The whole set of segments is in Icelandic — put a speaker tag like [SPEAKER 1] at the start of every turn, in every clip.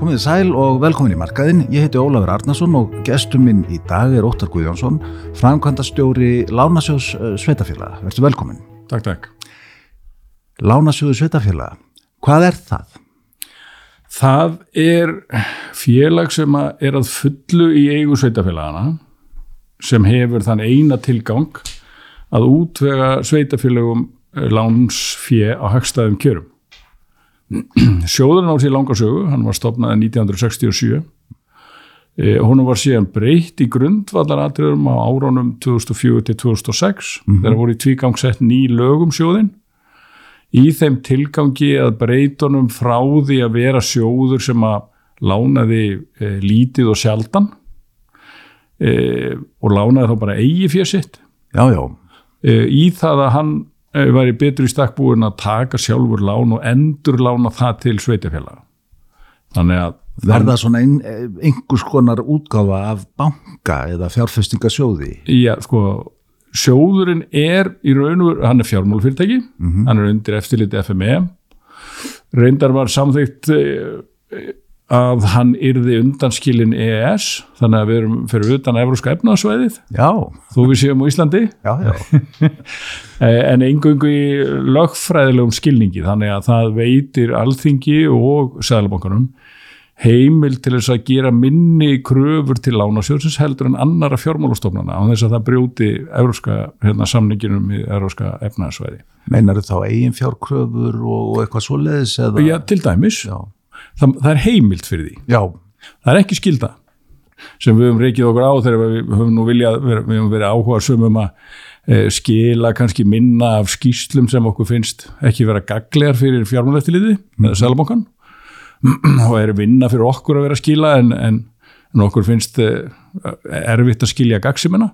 [SPEAKER 1] Komið sæl og velkomin í markaðinn. Ég heiti Ólafur Arnason og gestur minn í dag er Óttar Guðjónsson, framkvæmdastjóri Lánasjóðs eh, sveitafélaga. Vertu velkomin.
[SPEAKER 2] Takk, takk.
[SPEAKER 1] Lánasjóðu sveitafélaga, hvað er það?
[SPEAKER 2] Það er félag sem að er að fullu í eigu sveitafélagana sem hefur þann eina tilgang að útvega sveitafélagum lánsfjö á hagstæðum kjörum. Sjóðurinn á sér langa sögu, hann var stopnaði 1967. Eh, honum var síðan breytt í grundvallaratriðum á árunum 2004 til 2006 þegar voru í tvígang sett ný lögum sjóðinn í þeim tilgangi að breytunum frá því að vera sjóður sem að lánaði e, lítið og sjaldan e, og lánaði þá bara eigi fyrir sitt
[SPEAKER 1] Já, já,
[SPEAKER 2] e, í það að hann e, væri betur í stakkbúin að taka sjálfur lán og endur lána það til sveitafélaga. Þannig að
[SPEAKER 1] verða svona ein, eh, einhvers konar útgáfa af banka eða fjárfestingasjóði.
[SPEAKER 2] Já, sko, sjóðurinn er í raun og veru, hann er fjármálfyrirtæki, hann er undir eftirliti FME, reyndar var samþygt að hann yrði undanskilin EES, þannig að við erum fyrir utan Evróska efnaðsvæðið,
[SPEAKER 1] Já,
[SPEAKER 2] þó við séum á Íslandi,
[SPEAKER 1] já, já.
[SPEAKER 2] eh, en engungu í lögfræðilegum skilningi, þannig að það veitir alþingi og sæðalabankanum heimil til þess að gera minni kröfur til lánasjóðsins heldur en annara fjármálastofnana á þess að það brjóti evróska, hérna, samninginum í evróska efnaðsvæði.
[SPEAKER 1] Meinar þá eigin fjárkröfur og eitthvað svoleiðis eða?
[SPEAKER 2] Já, til dæmis,
[SPEAKER 1] Já,
[SPEAKER 2] það, það er heimild fyrir því.
[SPEAKER 1] já,
[SPEAKER 2] Það er ekki skilda sem við höfum reykið okkur á þegar við höfum nú viljað, við við höfum verið áhuga um að e, skila kannski minna af skýslum sem okkur finnst ekki vera gaglegar fyrir fjármálættiliði með Sælabankan og er vinna fyrir okkur að vera að skila en, en, en okkur finnst e, erfitt að skilja gagsimina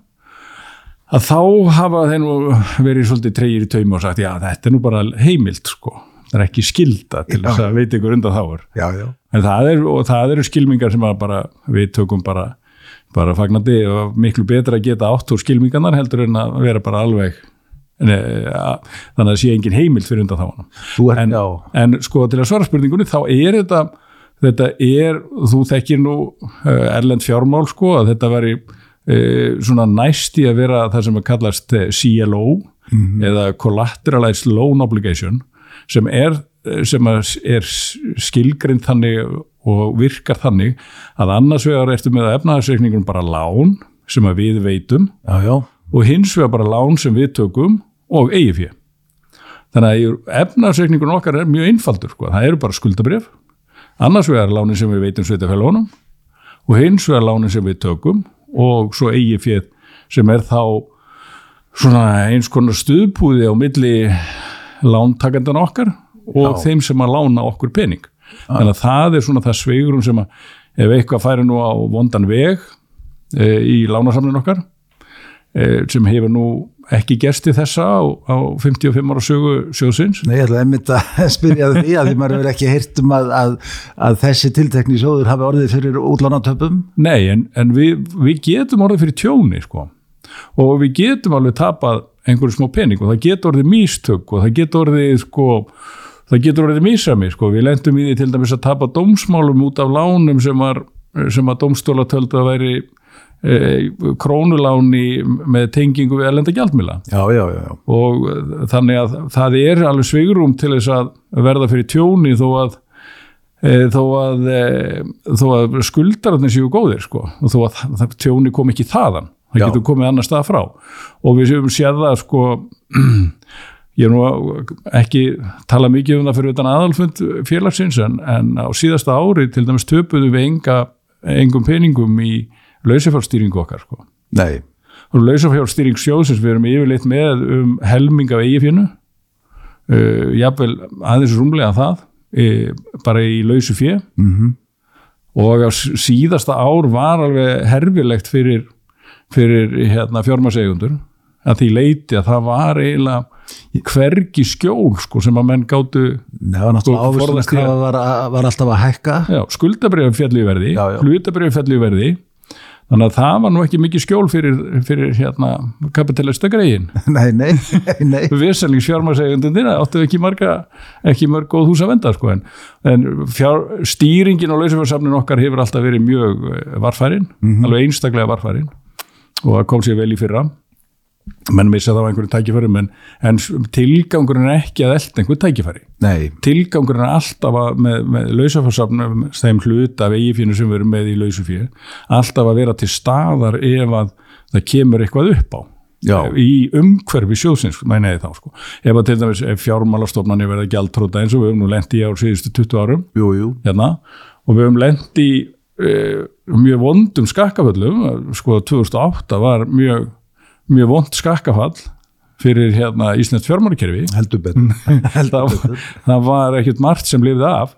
[SPEAKER 2] að þá hafa þeir nú verið svolítið treyir í taumi og sagt já þetta er nú bara heimild sko, það er ekki skilda til þess að veit ykkur undan þáur
[SPEAKER 1] já, já.
[SPEAKER 2] En það, er, og það eru skilmingar sem að bara, við tökum bara, bara fagnandi og miklu betra að geta átt úr skilmingarnar heldur en að vera bara alveg en, að, þannig að það sé engin heimild fyrir undan þá
[SPEAKER 1] Þú ert,
[SPEAKER 2] en,
[SPEAKER 1] já,
[SPEAKER 2] en sko til að svara spurningunni þá er þetta, þetta er, þú þekkir nú eh, erlend fjármál sko að þetta veri eh, svona næst í að vera það sem að kallast eh, CLO
[SPEAKER 1] Mhm.
[SPEAKER 2] eða Collateralized Loan Obligation sem er, eh, sem að er skilgrind þannig og virkar þannig að annars vegar ertu með efnaðarsreikningunum bara lán sem að við veitum
[SPEAKER 1] já, já.
[SPEAKER 2] og hins vegar bara lán sem við tökum og eigi fjö. Þannig að efnarsreikningun okkar er mjög einfaldur. Sko. Það eru bara skuldabrif, annars vegar lánin sem við veitum sveitafélónum og hins vegar lánin sem við tökum og svo eigi fjö sem er þá svona eins konar stuðpúði á milli lántakendan okkar og þeim sem að lána okkur pening. Þannig að það er svona það sveigurum sem að ef eitthvað færi nú á vondan veg e, í lánasamlinn okkar eh, sem hefur nú ekki gerst í þessa á, á 55 ára sögu sjóðsins.
[SPEAKER 1] Nei, ég ætla einmitt að spyrja að því að því maður hefur ekki heyrt um að, að, að þessi tiltekni sjóður hafi orðið fyrir útlánatöpum.
[SPEAKER 2] Nei, en, en við, við getum orðið fyrir tjóni, sko. Og við getum alveg tapað einhverju smá pening og það getur orðið místök og það getur orðið, sko, það getur orðið mísami, sko. Við lendum í því til dæmis að tapa dómsmálum út af lánum sem, var, sem að dómstóla töldu að væri eh, krónuláni með tengingu við erlenda gjaldmila.
[SPEAKER 1] Já, já, já, já.
[SPEAKER 2] og eh, þannig að það er alveg svigrum til þess að verða fyrir tjóni þó að e, þó að, e, þó að skuldararnir séu góðir sko og þó að þa- þa- tjóni kom ekki þaðan það
[SPEAKER 1] Já.
[SPEAKER 2] getur komið annar stað frá og við séum séð það sko ég er nú að- ekki tala mikið um það fyrir utan aðalfund félagsins en, en á síðasta ári til dæmis töpuðu við enga, engum peningum í lausifálstýringu okkar sko
[SPEAKER 1] Nei,
[SPEAKER 2] og lausafjárstýring sjóðsins við erum yfirleitt með um helming af eigifjönu uh, jafnvel aðeins rúmlega það uh, bara í lausu fjö
[SPEAKER 1] Mhm.
[SPEAKER 2] og á s- síðasta ár var alveg herfilegt fyrir, fyrir hérna, fjármaseigundur að því leiti að það var eiginlega hvergi skjól sko, sem að menn gátu
[SPEAKER 1] nefa náttúrulega
[SPEAKER 2] Sko, forðast
[SPEAKER 1] ávistunarkrafa var, að- var alltaf að hækka.
[SPEAKER 2] Já, skuldabrjöfum fjallu í verði,
[SPEAKER 1] Já, já.
[SPEAKER 2] hlutabrjöfum fjallu í verði Þannig að það var nú ekki mikið skjól fyrir, fyrir hérna, kapitalista greiðin.
[SPEAKER 1] nei, nei, nei, nei.
[SPEAKER 2] Vesalings fjármagsægjundundina áttu ekki, marga, ekki mörg góð hús að venda sko en, en fjár, stýringin og lausafjársamnin okkar hefur alltaf verið mjög eh, varfærin, alveg einstaklega varfærin og það kom sér vel í fyrra menn missa þá einhverju tækifærum en, en s- tilgangurinn er ekki að elda einhverju tækifæri
[SPEAKER 1] Nei,
[SPEAKER 2] tilgangurinn er alltaf að með, með lausafjársafnum þeim hlut af eigifínu sem við erum með í lausufíu alltaf að vera til staðar ef að það kemur eitthvað upp á
[SPEAKER 1] Já.
[SPEAKER 2] í umhverfi sjóðsins mæna ég þá sko ef að til dæmis ef fjármálastofnani verða gjaldtróta eins og við höfum nú lent í á síðustu 20 árum
[SPEAKER 1] jú, jú.
[SPEAKER 2] hérna og við höfum lent í e, mjög vondum skakkaföllum sko 2008 var mjög mjög vond skakkafall fyrir hérna Íslands fjármálakerfi
[SPEAKER 1] Heldur betur. Heldur
[SPEAKER 2] það,
[SPEAKER 1] betur.
[SPEAKER 2] það var ekkert margt sem lifði af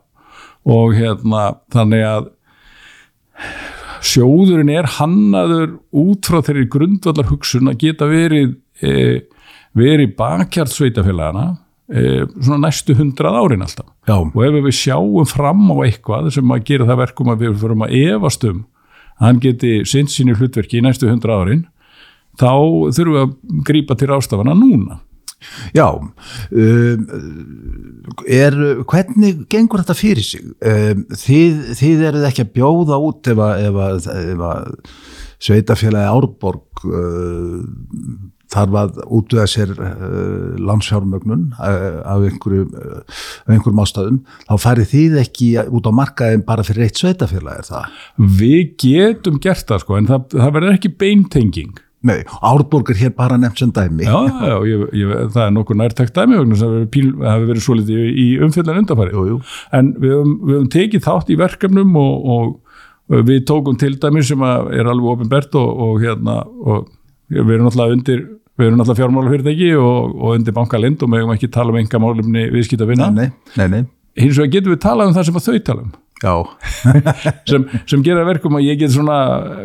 [SPEAKER 2] og hérna þannig að sjóðurinn er hannaður út frá þeirri grundvallar hugsun að geta verið e, verið bakkjart sveitafélagana e, svona næstu hundrað árin alltaf
[SPEAKER 1] Já,
[SPEAKER 2] og ef við sjáum fram á eitthvað sem að gera það verkum að við förum að efast um að hann geti sinnt sínu hlutverki í næstu hundra árin þá þurfum við að grípa til rástafana núna
[SPEAKER 1] já. Um, er, hvernig gengur þetta fyrir sig? Um, þið, þið eruð ekki að bjóða út ef að, ef að, ef að sveitafélagi Árborg uh, þarf að útvega sér uh, landsfjármögnun uh, af einhverju, uh, af einhverjum ástæðum, þá farið þið ekki út á markaðin bara fyrir eitt sveitafélagi, er það?
[SPEAKER 2] Við getum gert það sko, en það, það verður ekki beintenging.
[SPEAKER 1] Nei, Árborg er hér bara nefnt sem dæmi.
[SPEAKER 2] Já, já, ég, ég, það er nokkur nærtækt dæmi vegna sem það hefur verið svolítið í umfyllan undanfari.
[SPEAKER 1] Jú, jú.
[SPEAKER 2] En við höfum, við höfum tekið þátt í verkefnum og, og við tókum til dæmi sem að er alveg ofinbert og, og hérna, og við erum náttúrulega undir, við erum náttúrulega fjármálafyrirtæki og, og undir bankalind og mögum ekki tala um enga málumni viðskiptavinna.
[SPEAKER 1] Nei, nei, nei,
[SPEAKER 2] Hins vegar getum við talað um það sem að þau tala um.
[SPEAKER 1] já,
[SPEAKER 2] sem, sem gera verkum að ég get svona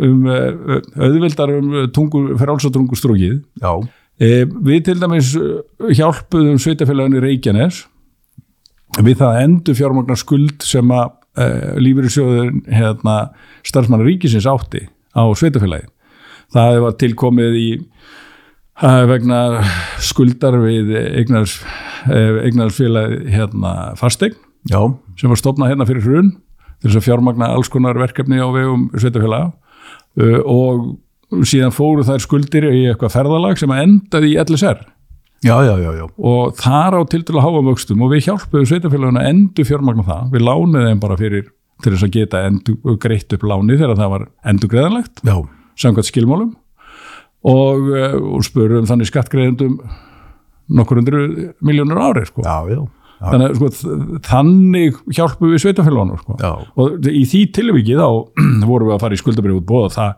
[SPEAKER 2] um, eh, auðveldar um tungur, frálsatungur strókið.
[SPEAKER 1] já,
[SPEAKER 2] E, við til dæmis eh, hjálpuðum sveitafélaginu Reykjanes við það að endur fjármagnar skuld sem að e, lífyrirsjóðin hérna, starfsmann ríkisins átti á sveitafélagi. Það var tilkomið í eh, vegna skuldar við eignars, eignarsfélag hérna, fasteign
[SPEAKER 1] já,
[SPEAKER 2] sem var stopnað hérna fyrir hrun til þess að fjármagna alls konar verkefni á vegum sveitafélaga uh, og síðan fóru þær skuldir í eitthvað ferðalag sem að endaði í LSR
[SPEAKER 1] já, já, já, já.
[SPEAKER 2] og þar á tildurlega háum vöxtum og við hjálpuðum sveitafélaguna að endur fjármagna það við lánuðum þeim bara fyrir til þess að geta endur, greitt upp láni þegar það var endurgreðanlegt
[SPEAKER 1] já.
[SPEAKER 2] samkvæmt skilmálum og, uh, og spurum þannig skattgreðendum nokkur hundru miljónur árið sko.
[SPEAKER 1] Já, já, já,
[SPEAKER 2] þannig, að, sko, þ- þannig hjálpum við sveitafélagunum sko.
[SPEAKER 1] Já.
[SPEAKER 2] og í því tilvikið þá vorum við að fara í skuldabrið útbóð og það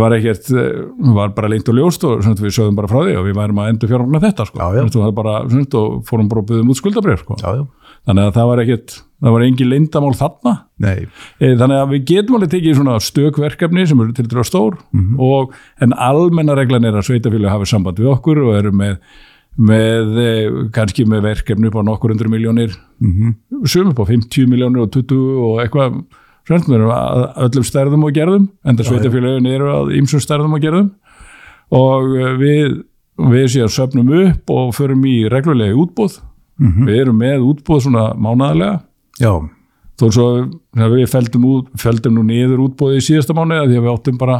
[SPEAKER 2] var ekkert eh, var bara leint og ljóst og svona, við sögðum bara frá því og við værum að endur fjármagna þetta sko.
[SPEAKER 1] Já, já.
[SPEAKER 2] Svona, það var bara, svona, og fórum bara og byggðum út skuldabrið sko.
[SPEAKER 1] já, já.
[SPEAKER 2] þannig að það var ekkert það var engin leindamál þarna
[SPEAKER 1] Nei,
[SPEAKER 2] Eh, Þannig að við getum alveg tekið svona stökverkefni sem eru til dráð stór og, en almenna reglan er að sveitafélagi hafi samband við okkur og eru með, með eh, kannski með verkefni upp á nokkur hundur miljónir sum upp á 50 miljónir og 20 og eitthvað svönd með öllum stærðum og gerðum en það sveitafélagin eru að ýmsum stærðum og gerðum og eh, við við séum söfnum upp og förum í reglulegi útbóð við erum með útbóð svona mánaðarlega
[SPEAKER 1] já,
[SPEAKER 2] þó svo að við feldum, út, feldum nú niður útbóðið í síðasta mánu því að við áttum bara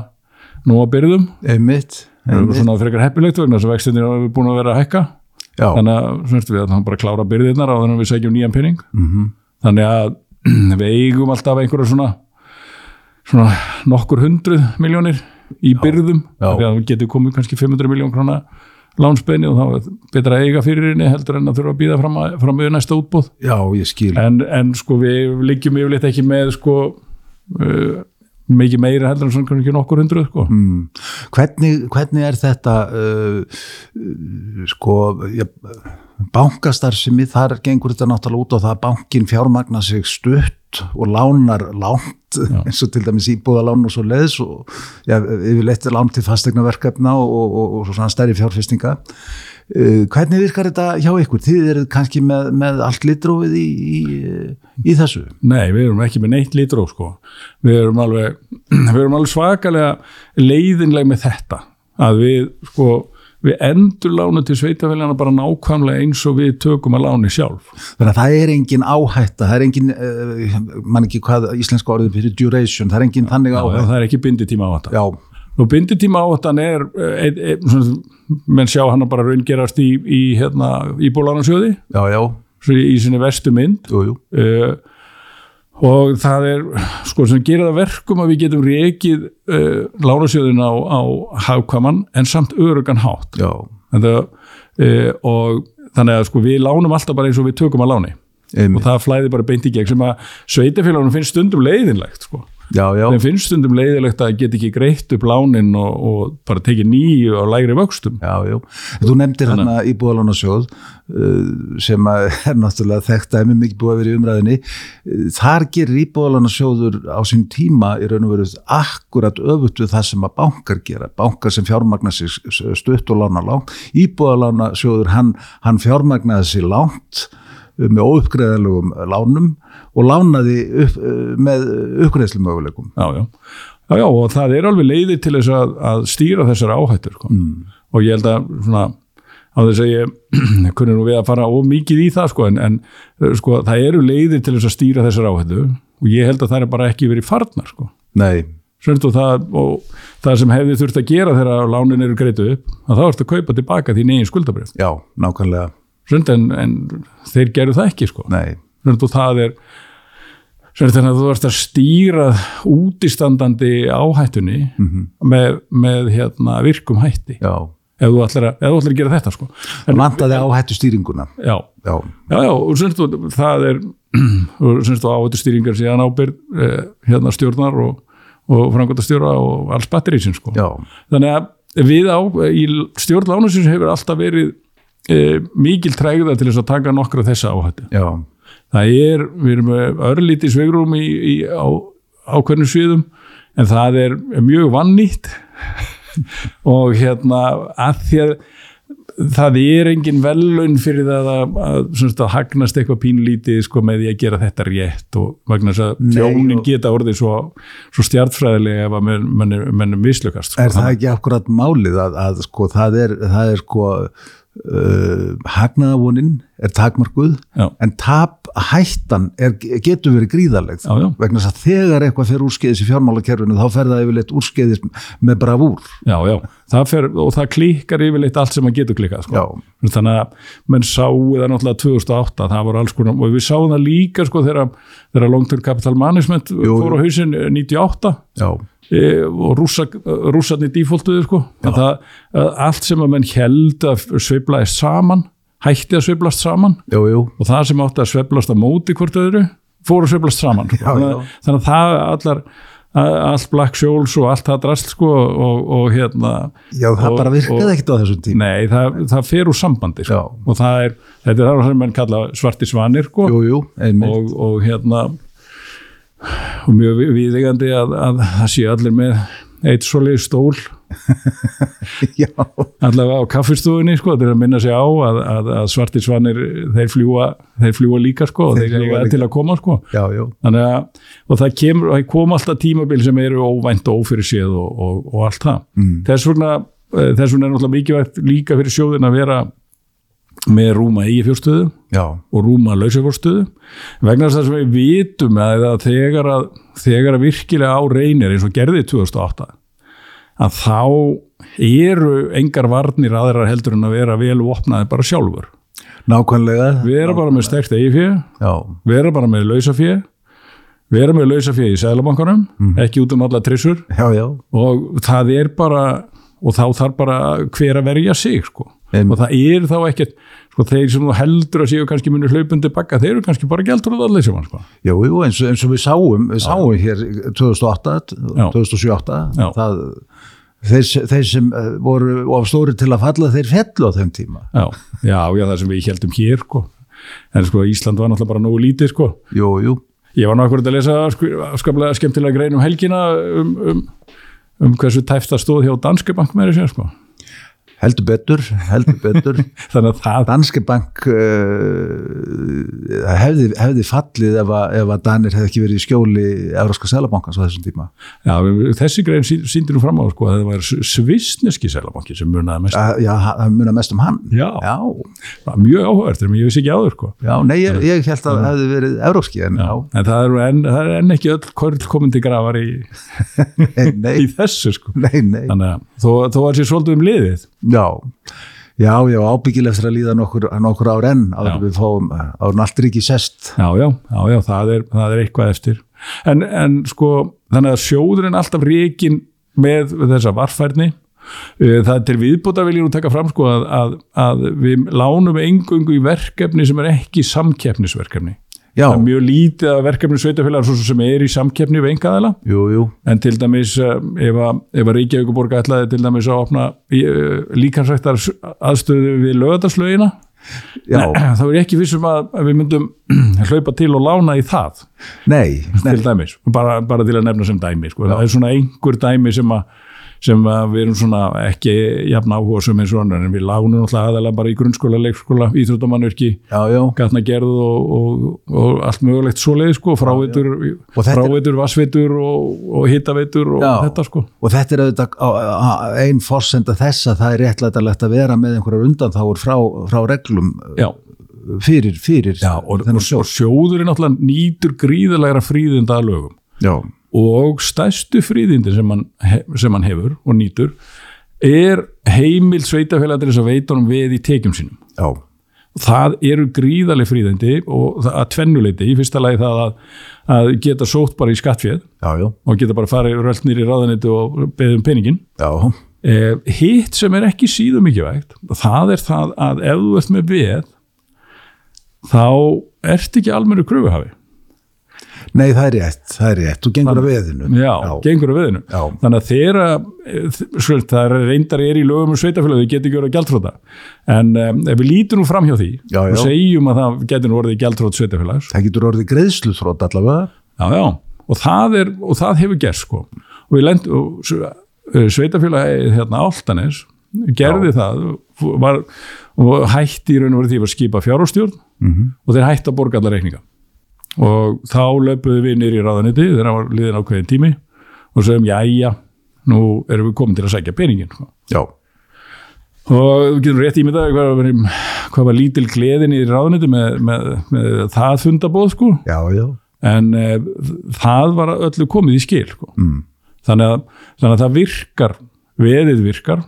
[SPEAKER 2] nú að byrðum
[SPEAKER 1] einmitt,
[SPEAKER 2] það er
[SPEAKER 1] einmitt.
[SPEAKER 2] svona frekar heppilegt vegna þess að vextinir hafa búin að vera að hækka
[SPEAKER 1] Já,
[SPEAKER 2] þannig að semst, við ætlum bara að klára byrðirnar á þannig að við sækjum nýjan penning
[SPEAKER 1] Mhm.
[SPEAKER 2] -hmm. þannig að við eigum alltaf einhverja svona, svona nokkur hundruð miljónir í byrðum
[SPEAKER 1] Já.
[SPEAKER 2] því að við getum komið kannski 500 miljón krona lánsbeini og þá er betra að eiga fyrir henni heldur en að þurfa að býða fram, að, fram við næsta útbóð
[SPEAKER 1] já, ég skil.
[SPEAKER 2] en, en sko við liggjum yfirleitt ekki með sko uh, mikið meira heldur en svona kannski nokkur hundruð sko.
[SPEAKER 1] Mm. Hvernig, hvernig er þetta, uh, uh, sko, ja, bankastarfsemi, þar gengur þetta náttúrulega út á það að bankin fjármagna sig stutt og lánar lánt eins og til dæmis íbúðalán og svo leiðis og ja, yfirleitt lán til fastegnaverkefna og, og, og, og svona stærri fjárfestinga. Uh, hvernig virkar þetta hjá ykkur? Þið eruð kannski með, með allt litrófið í, í, í þessu.
[SPEAKER 2] Nei, við erum ekki með neitt litró sko. Við erum alveg, við erum alveg svakalega leiðinleg með þetta. Að við sko, við endur lánu til sveitafélagana bara nákvæmlega eins og við tökum að láni sjálf.
[SPEAKER 1] Þannig að það er engin áhætta, það er engin, uh, mann ekki hvað íslenska orðið fyrir duration, það er engin þannig áhætta.
[SPEAKER 2] Það er ekki binditíma á þetta.
[SPEAKER 1] Já,
[SPEAKER 2] Nú binditíma áttan er, e, e, svona, menn sjá hana bara raungerast í, í, hérna, í bólanasjóði,
[SPEAKER 1] já, já,
[SPEAKER 2] í sinni vestu mynd
[SPEAKER 1] jú, jú.
[SPEAKER 2] uh, og það er, sko, sem gerir það verkum að við getum rekið uh, lánasjóðin á, á hagkvaman en samt örugan hátt.
[SPEAKER 1] Já,
[SPEAKER 2] En það, uh, og þannig að sko, við lánum alltaf bara eins og við tökum að láni og
[SPEAKER 1] einmitt.
[SPEAKER 2] það flæði bara beint í gegn sem að sveitafélagunum finnst stundum leiðinlegt, sko.
[SPEAKER 1] Já, já,
[SPEAKER 2] þeim finnst stundum leiðilegt að geta ekki greitt upp lánin og, og bara tekið nýju á lægri vöxtum.
[SPEAKER 1] já, já. Þú nefndir hann að íbúðalánasjóð uh, sem að er náttúrulega þekkt að mikið búið að vera í umræðinni. Uh, Þar gerir íbúðalánasjóður á sín tíma í raun og veru akkurat öfut við það sem að bankar gera. Bankar sem fjármagnar sér stutt og lána langt. Íbúðalánasjóður, hann, hann fjármagnaði sér langt uh, með óuppgreðalögum lánum og lánaði upp, uh, með uppgreðslumöguleikum.
[SPEAKER 2] Já, já. Já, já, og það er alveg leiðir til þess að, að stýra þessar áhættur. Sko. Mm. Og ég held að svona, á þess að ég kunni nú við að fara of mikið í það, sko, en, en sko, það eru leiðir til þess að stýra þessar áhættu og ég held að það er bara ekki verið farnar, sko.
[SPEAKER 1] Nei,
[SPEAKER 2] Svönd og það, og það sem hefði þurft að gera þegar lánin eru greitu upp, að þá ertu að kaupa tilbaka þín eigin skuldabrif.
[SPEAKER 1] já, nákvæmlega,
[SPEAKER 2] Svönd en, en þeir gerðu það ekki, sko.
[SPEAKER 1] nei.
[SPEAKER 2] Þannig að þú- það er sem er þannig að þú ert að stýra útistandandi áhættunni með, með hérna, virkum hætti
[SPEAKER 1] Mhm. Já,
[SPEAKER 2] ef þú ætlar að, ef þú ætlar að gera þetta sko. en,
[SPEAKER 1] vandaði áhættu stýringuna
[SPEAKER 2] já,
[SPEAKER 1] já,
[SPEAKER 2] já, já og sem sagt, þú- það er og sem þú áhættu stýringar síðan ábyrð eh, hérna stjórnar og, og framkvæmta stjóra og alls batterísin sko.
[SPEAKER 1] já,
[SPEAKER 2] þannig að við á í stjórn lánusins hefur alltaf verið eh, mikil trægða til þess að taka nokkra þessa áhættu
[SPEAKER 1] já,
[SPEAKER 2] það er, við erum með örlítið sveigrum í, í, á ákveðnum sviðum en það er mjög vannýtt og hérna að því að það er engin velun fyrir það að, að, semst, að hagnast eitthvað pínlítið sko, með því að gera þetta rétt og vegna þess að
[SPEAKER 1] Nei,
[SPEAKER 2] tjónin
[SPEAKER 1] og-
[SPEAKER 2] geta orðið svo, svo stjartfræðilega ef að menn, menn, menn mislukast sko.
[SPEAKER 1] er það ekki akkurat málið að, að sko það er, það er sko uh, hagnaðavonin er takmarkuð
[SPEAKER 2] Já.
[SPEAKER 1] en tap hættan er, getur verið gríðarleg
[SPEAKER 2] Já, já.
[SPEAKER 1] vegna þess að þegar eitthvað fer úrskeiðis í fjármálakerfinu þá fer það yfirleitt úrskeiðis með bravúr
[SPEAKER 2] Já, já, það fer, og það klikkar yfirleitt allt sem að getur klikkað sko.
[SPEAKER 1] Já.
[SPEAKER 2] þannig að menn sáu það náttúrulega 2008, það voru alls konar og við sáum það líka sko þegar, þegar long term capital management
[SPEAKER 1] jú.
[SPEAKER 2] fór á hausinn eh, 98
[SPEAKER 1] já,
[SPEAKER 2] e, og rússa, rússarni dífóltuðu sko Að það, að allt sem að menn held að sveiflaðist saman hætti að sveiflast saman
[SPEAKER 1] jú, jú,
[SPEAKER 2] og það sem átti að sveiflast á móti hvort öðru fór að sveiflast saman sko.
[SPEAKER 1] Já, já.
[SPEAKER 2] þannig, að- þannig að það allar að- allt Black Shoals og allt það drast sko og, og hérna
[SPEAKER 1] já það
[SPEAKER 2] og-
[SPEAKER 1] bara
[SPEAKER 2] og-
[SPEAKER 1] virkaði ekkert á þessum tíma
[SPEAKER 2] Nei, það, það fer úr sambandi sko.
[SPEAKER 1] Já.
[SPEAKER 2] og það er, þetta er það sem menn kalla svarti svanir sko.
[SPEAKER 1] jú, jú, einmitt,
[SPEAKER 2] og, og hérna og mjög vi- viðeigandi að, að það sé allir með eitt svolítið stól
[SPEAKER 1] já,
[SPEAKER 2] allavega á kaffistofunni sko, til að minna sig á að, að, að svarti svanir þeir fljúa, þeir fljúa líka sko, og
[SPEAKER 1] Þeir
[SPEAKER 2] þeir
[SPEAKER 1] fljúga
[SPEAKER 2] eiga
[SPEAKER 1] líka.
[SPEAKER 2] til að koma sko.
[SPEAKER 1] já, já
[SPEAKER 2] þannig að, og það kemur það kom alltaf tímabil sem eru óvænt og ófyrir séð og, og, og allt það mm. þess vegna, eh, þess vegna er náttúrulega mikilvægt líka fyrir sjóðin að vera með rúma eigi fjórstöðu
[SPEAKER 1] já,
[SPEAKER 2] og rúma lausafórstöðu vegna þess að sem við vitum að að þegar, að þegar að virkilega á reynir eins og gerði 2008 að þá eru engar varnir aðrar heldur en að vera vel opnaði bara sjálfur
[SPEAKER 1] nákvæmlega
[SPEAKER 2] vera bara með sterkt eigi
[SPEAKER 1] já,
[SPEAKER 2] vera bara með lausafjö vera með lausafjö í sælabankanum ekki út um alla trissur
[SPEAKER 1] já, já,
[SPEAKER 2] og það er bara og þá þarf bara hver að verja sig sko.
[SPEAKER 1] Einmitt.
[SPEAKER 2] og það er þá ekkert sko, þeir sem þú heldur að séu kannski muni hlaupundi bakka, þeir eru kannski bara gældur að allir sem hann sko.
[SPEAKER 1] Jú, jú, eins, og- eins og við sáum, við sáum hér 2008, 2007,
[SPEAKER 2] Já.
[SPEAKER 1] 2008
[SPEAKER 2] Já.
[SPEAKER 1] það þeir, þeir sem eh, voru of stóri til að falla þeir fellu á þeim tíma
[SPEAKER 2] Já, já, já, það sem við heldum hér sko. en sko Ísland var náttúrulega bara nógu lítið sko.
[SPEAKER 1] jú, jú,
[SPEAKER 2] ég var náttúrulega að lesa sk- skaplega skemmtilega grein um helgina um, um, um hversu tæft það stóð hjá Danske Bank með þessu sko.
[SPEAKER 1] heldur betur heldur betur
[SPEAKER 2] þannig að það
[SPEAKER 1] Danske Bank uh, hefði, hefði fallið ef að, ef að Danir hefði ekki verið í skjóli Evróska Sælabankans á þessum tíma
[SPEAKER 2] já, þessi grein sí- sýndi nú fram á sko, að það var svisneski selabanki sem munaði mest
[SPEAKER 1] Að- Eh, Já, það munar mest um hann
[SPEAKER 2] Já.
[SPEAKER 1] já,
[SPEAKER 2] Það var mjög áhugavert, þegar ég vissi ekki áður sko.
[SPEAKER 1] já nei, ég, ég held að það hefði verið Evróski en já,
[SPEAKER 2] en það er, en, það er enn ekki öll korl komandi grafar í,
[SPEAKER 1] nei,
[SPEAKER 2] í þessu sko.
[SPEAKER 1] nei, nei
[SPEAKER 2] þannig að þó, þó að sé svolítið um liðið
[SPEAKER 1] já, já, já, ábyggileg eftir að líða nokkur, nokkur ár enn
[SPEAKER 2] Já.
[SPEAKER 1] áður en við fáum, eh, áður en allt er ekki sest
[SPEAKER 2] Já, já, já, já það, er, það er eitthvað eftir. En, en sko, þannig að sjóðurinn alltaf reikin með þessa varfærni, Eh, það er til viðbúta vil ég nú taka fram sko að, að, að við lánum engungu í verkefni sem er ekki samkeppnisverkefni.
[SPEAKER 1] já,
[SPEAKER 2] Það er mjög lítið að verkefni sveitafélagar svo sem er í samkeppni við engaðala,
[SPEAKER 1] jú, jú
[SPEAKER 2] en til dæmis eh, ef að, ef að Reykjavíkuborg ætlaði til dæmis að opna eh, líkansræktar aðstöðu við lögataslaugina,
[SPEAKER 1] já,
[SPEAKER 2] þá er ég ekki vissum að, að við myndum hlaupa til og lána í það.
[SPEAKER 1] nei, nei,
[SPEAKER 2] til dæmis, bara, bara til að nefna sem dæmi sko. það er svona einhver dæmi sem að sem að við erum svona ekki jafn áhuga sem eins og annar en við lánum náttúrulega aðalega bara í grunnskóla, leikskóla, íþróttamannverki
[SPEAKER 1] já, já
[SPEAKER 2] gatna gerð og, og, og allt mögulegt svoleið sko, fráveitur,
[SPEAKER 1] Og þetta-
[SPEAKER 2] fráveitur, vassveitur og, og hitaveitur og
[SPEAKER 1] Já.
[SPEAKER 2] þetta sko
[SPEAKER 1] Og þetta er auðvitað á- á- einn forsenda þess að það er réttlætanlegt að vera með einhverjar undanþáur frá, frá reglum
[SPEAKER 2] Já,
[SPEAKER 1] uh, fyrir, fyrir
[SPEAKER 2] Já og, og,
[SPEAKER 1] þennan
[SPEAKER 2] og sjóðurinn náttúrulega nýtur gríðalegra fríðinda að lögum
[SPEAKER 1] Já,
[SPEAKER 2] og stærstu fríðindin sem hann, sem hann hefur og nýtur er heimil sveitafélag til þess að veita honum veð í tekjum sínum.
[SPEAKER 1] já,
[SPEAKER 2] Það eru gríðaleg fríðindi og það- að tvennuleiti, í fyrsta lagi það að, að geta sótt bara í skattfjöð
[SPEAKER 1] já, já,
[SPEAKER 2] og geta bara farið rölt nýri ráðanetu og beðið um peningin.
[SPEAKER 1] já,
[SPEAKER 2] Eh, hitt sem er ekki síðum mikilvægt, það er það að ef þú ert með veð, þá ert ekki almennu kröfuhafi.
[SPEAKER 1] Nei, það er rétt, það er rétt, þú gengur að veðinu
[SPEAKER 2] Já, gengur að veðinu.
[SPEAKER 1] Já.
[SPEAKER 2] Þannig að þeirra, eh, þ- skuld, það er reyndar er í lögum um sveitafélagi, þau getur ekki verið að gjaldþróta. En um, ef við lítum nú fram hjá því
[SPEAKER 1] Já,
[SPEAKER 2] og
[SPEAKER 1] já.
[SPEAKER 2] segjum að það getur nú orðið gjaldþrót sveitafélags,
[SPEAKER 1] Það getur orðið greiðslu þrótt allavega
[SPEAKER 2] já, já, og það, er, og það hefur gerst sko. Og við lendum, og s- eh, sveitafélagið hérna Áltanes gerði það, var, og hætti í raun og verið því að skipa fjárhústjórn og þeir hætti að borga alla reikninga. og þá löpuðu við nýri í ráðaniti þegar það var liðin ákveðin tími og sögum jæja, nú erum við komin til að sækja peningin sko.
[SPEAKER 1] Já,
[SPEAKER 2] og við getum rétt ímyndað hvað, var- hvað var lítil gleðin í ráðaniti með, með, með það fundabóð sko.
[SPEAKER 1] já, já,
[SPEAKER 2] en e, það var öllu komið í skil sko. mm. þannig, að, þannig að það virkar veðið virkar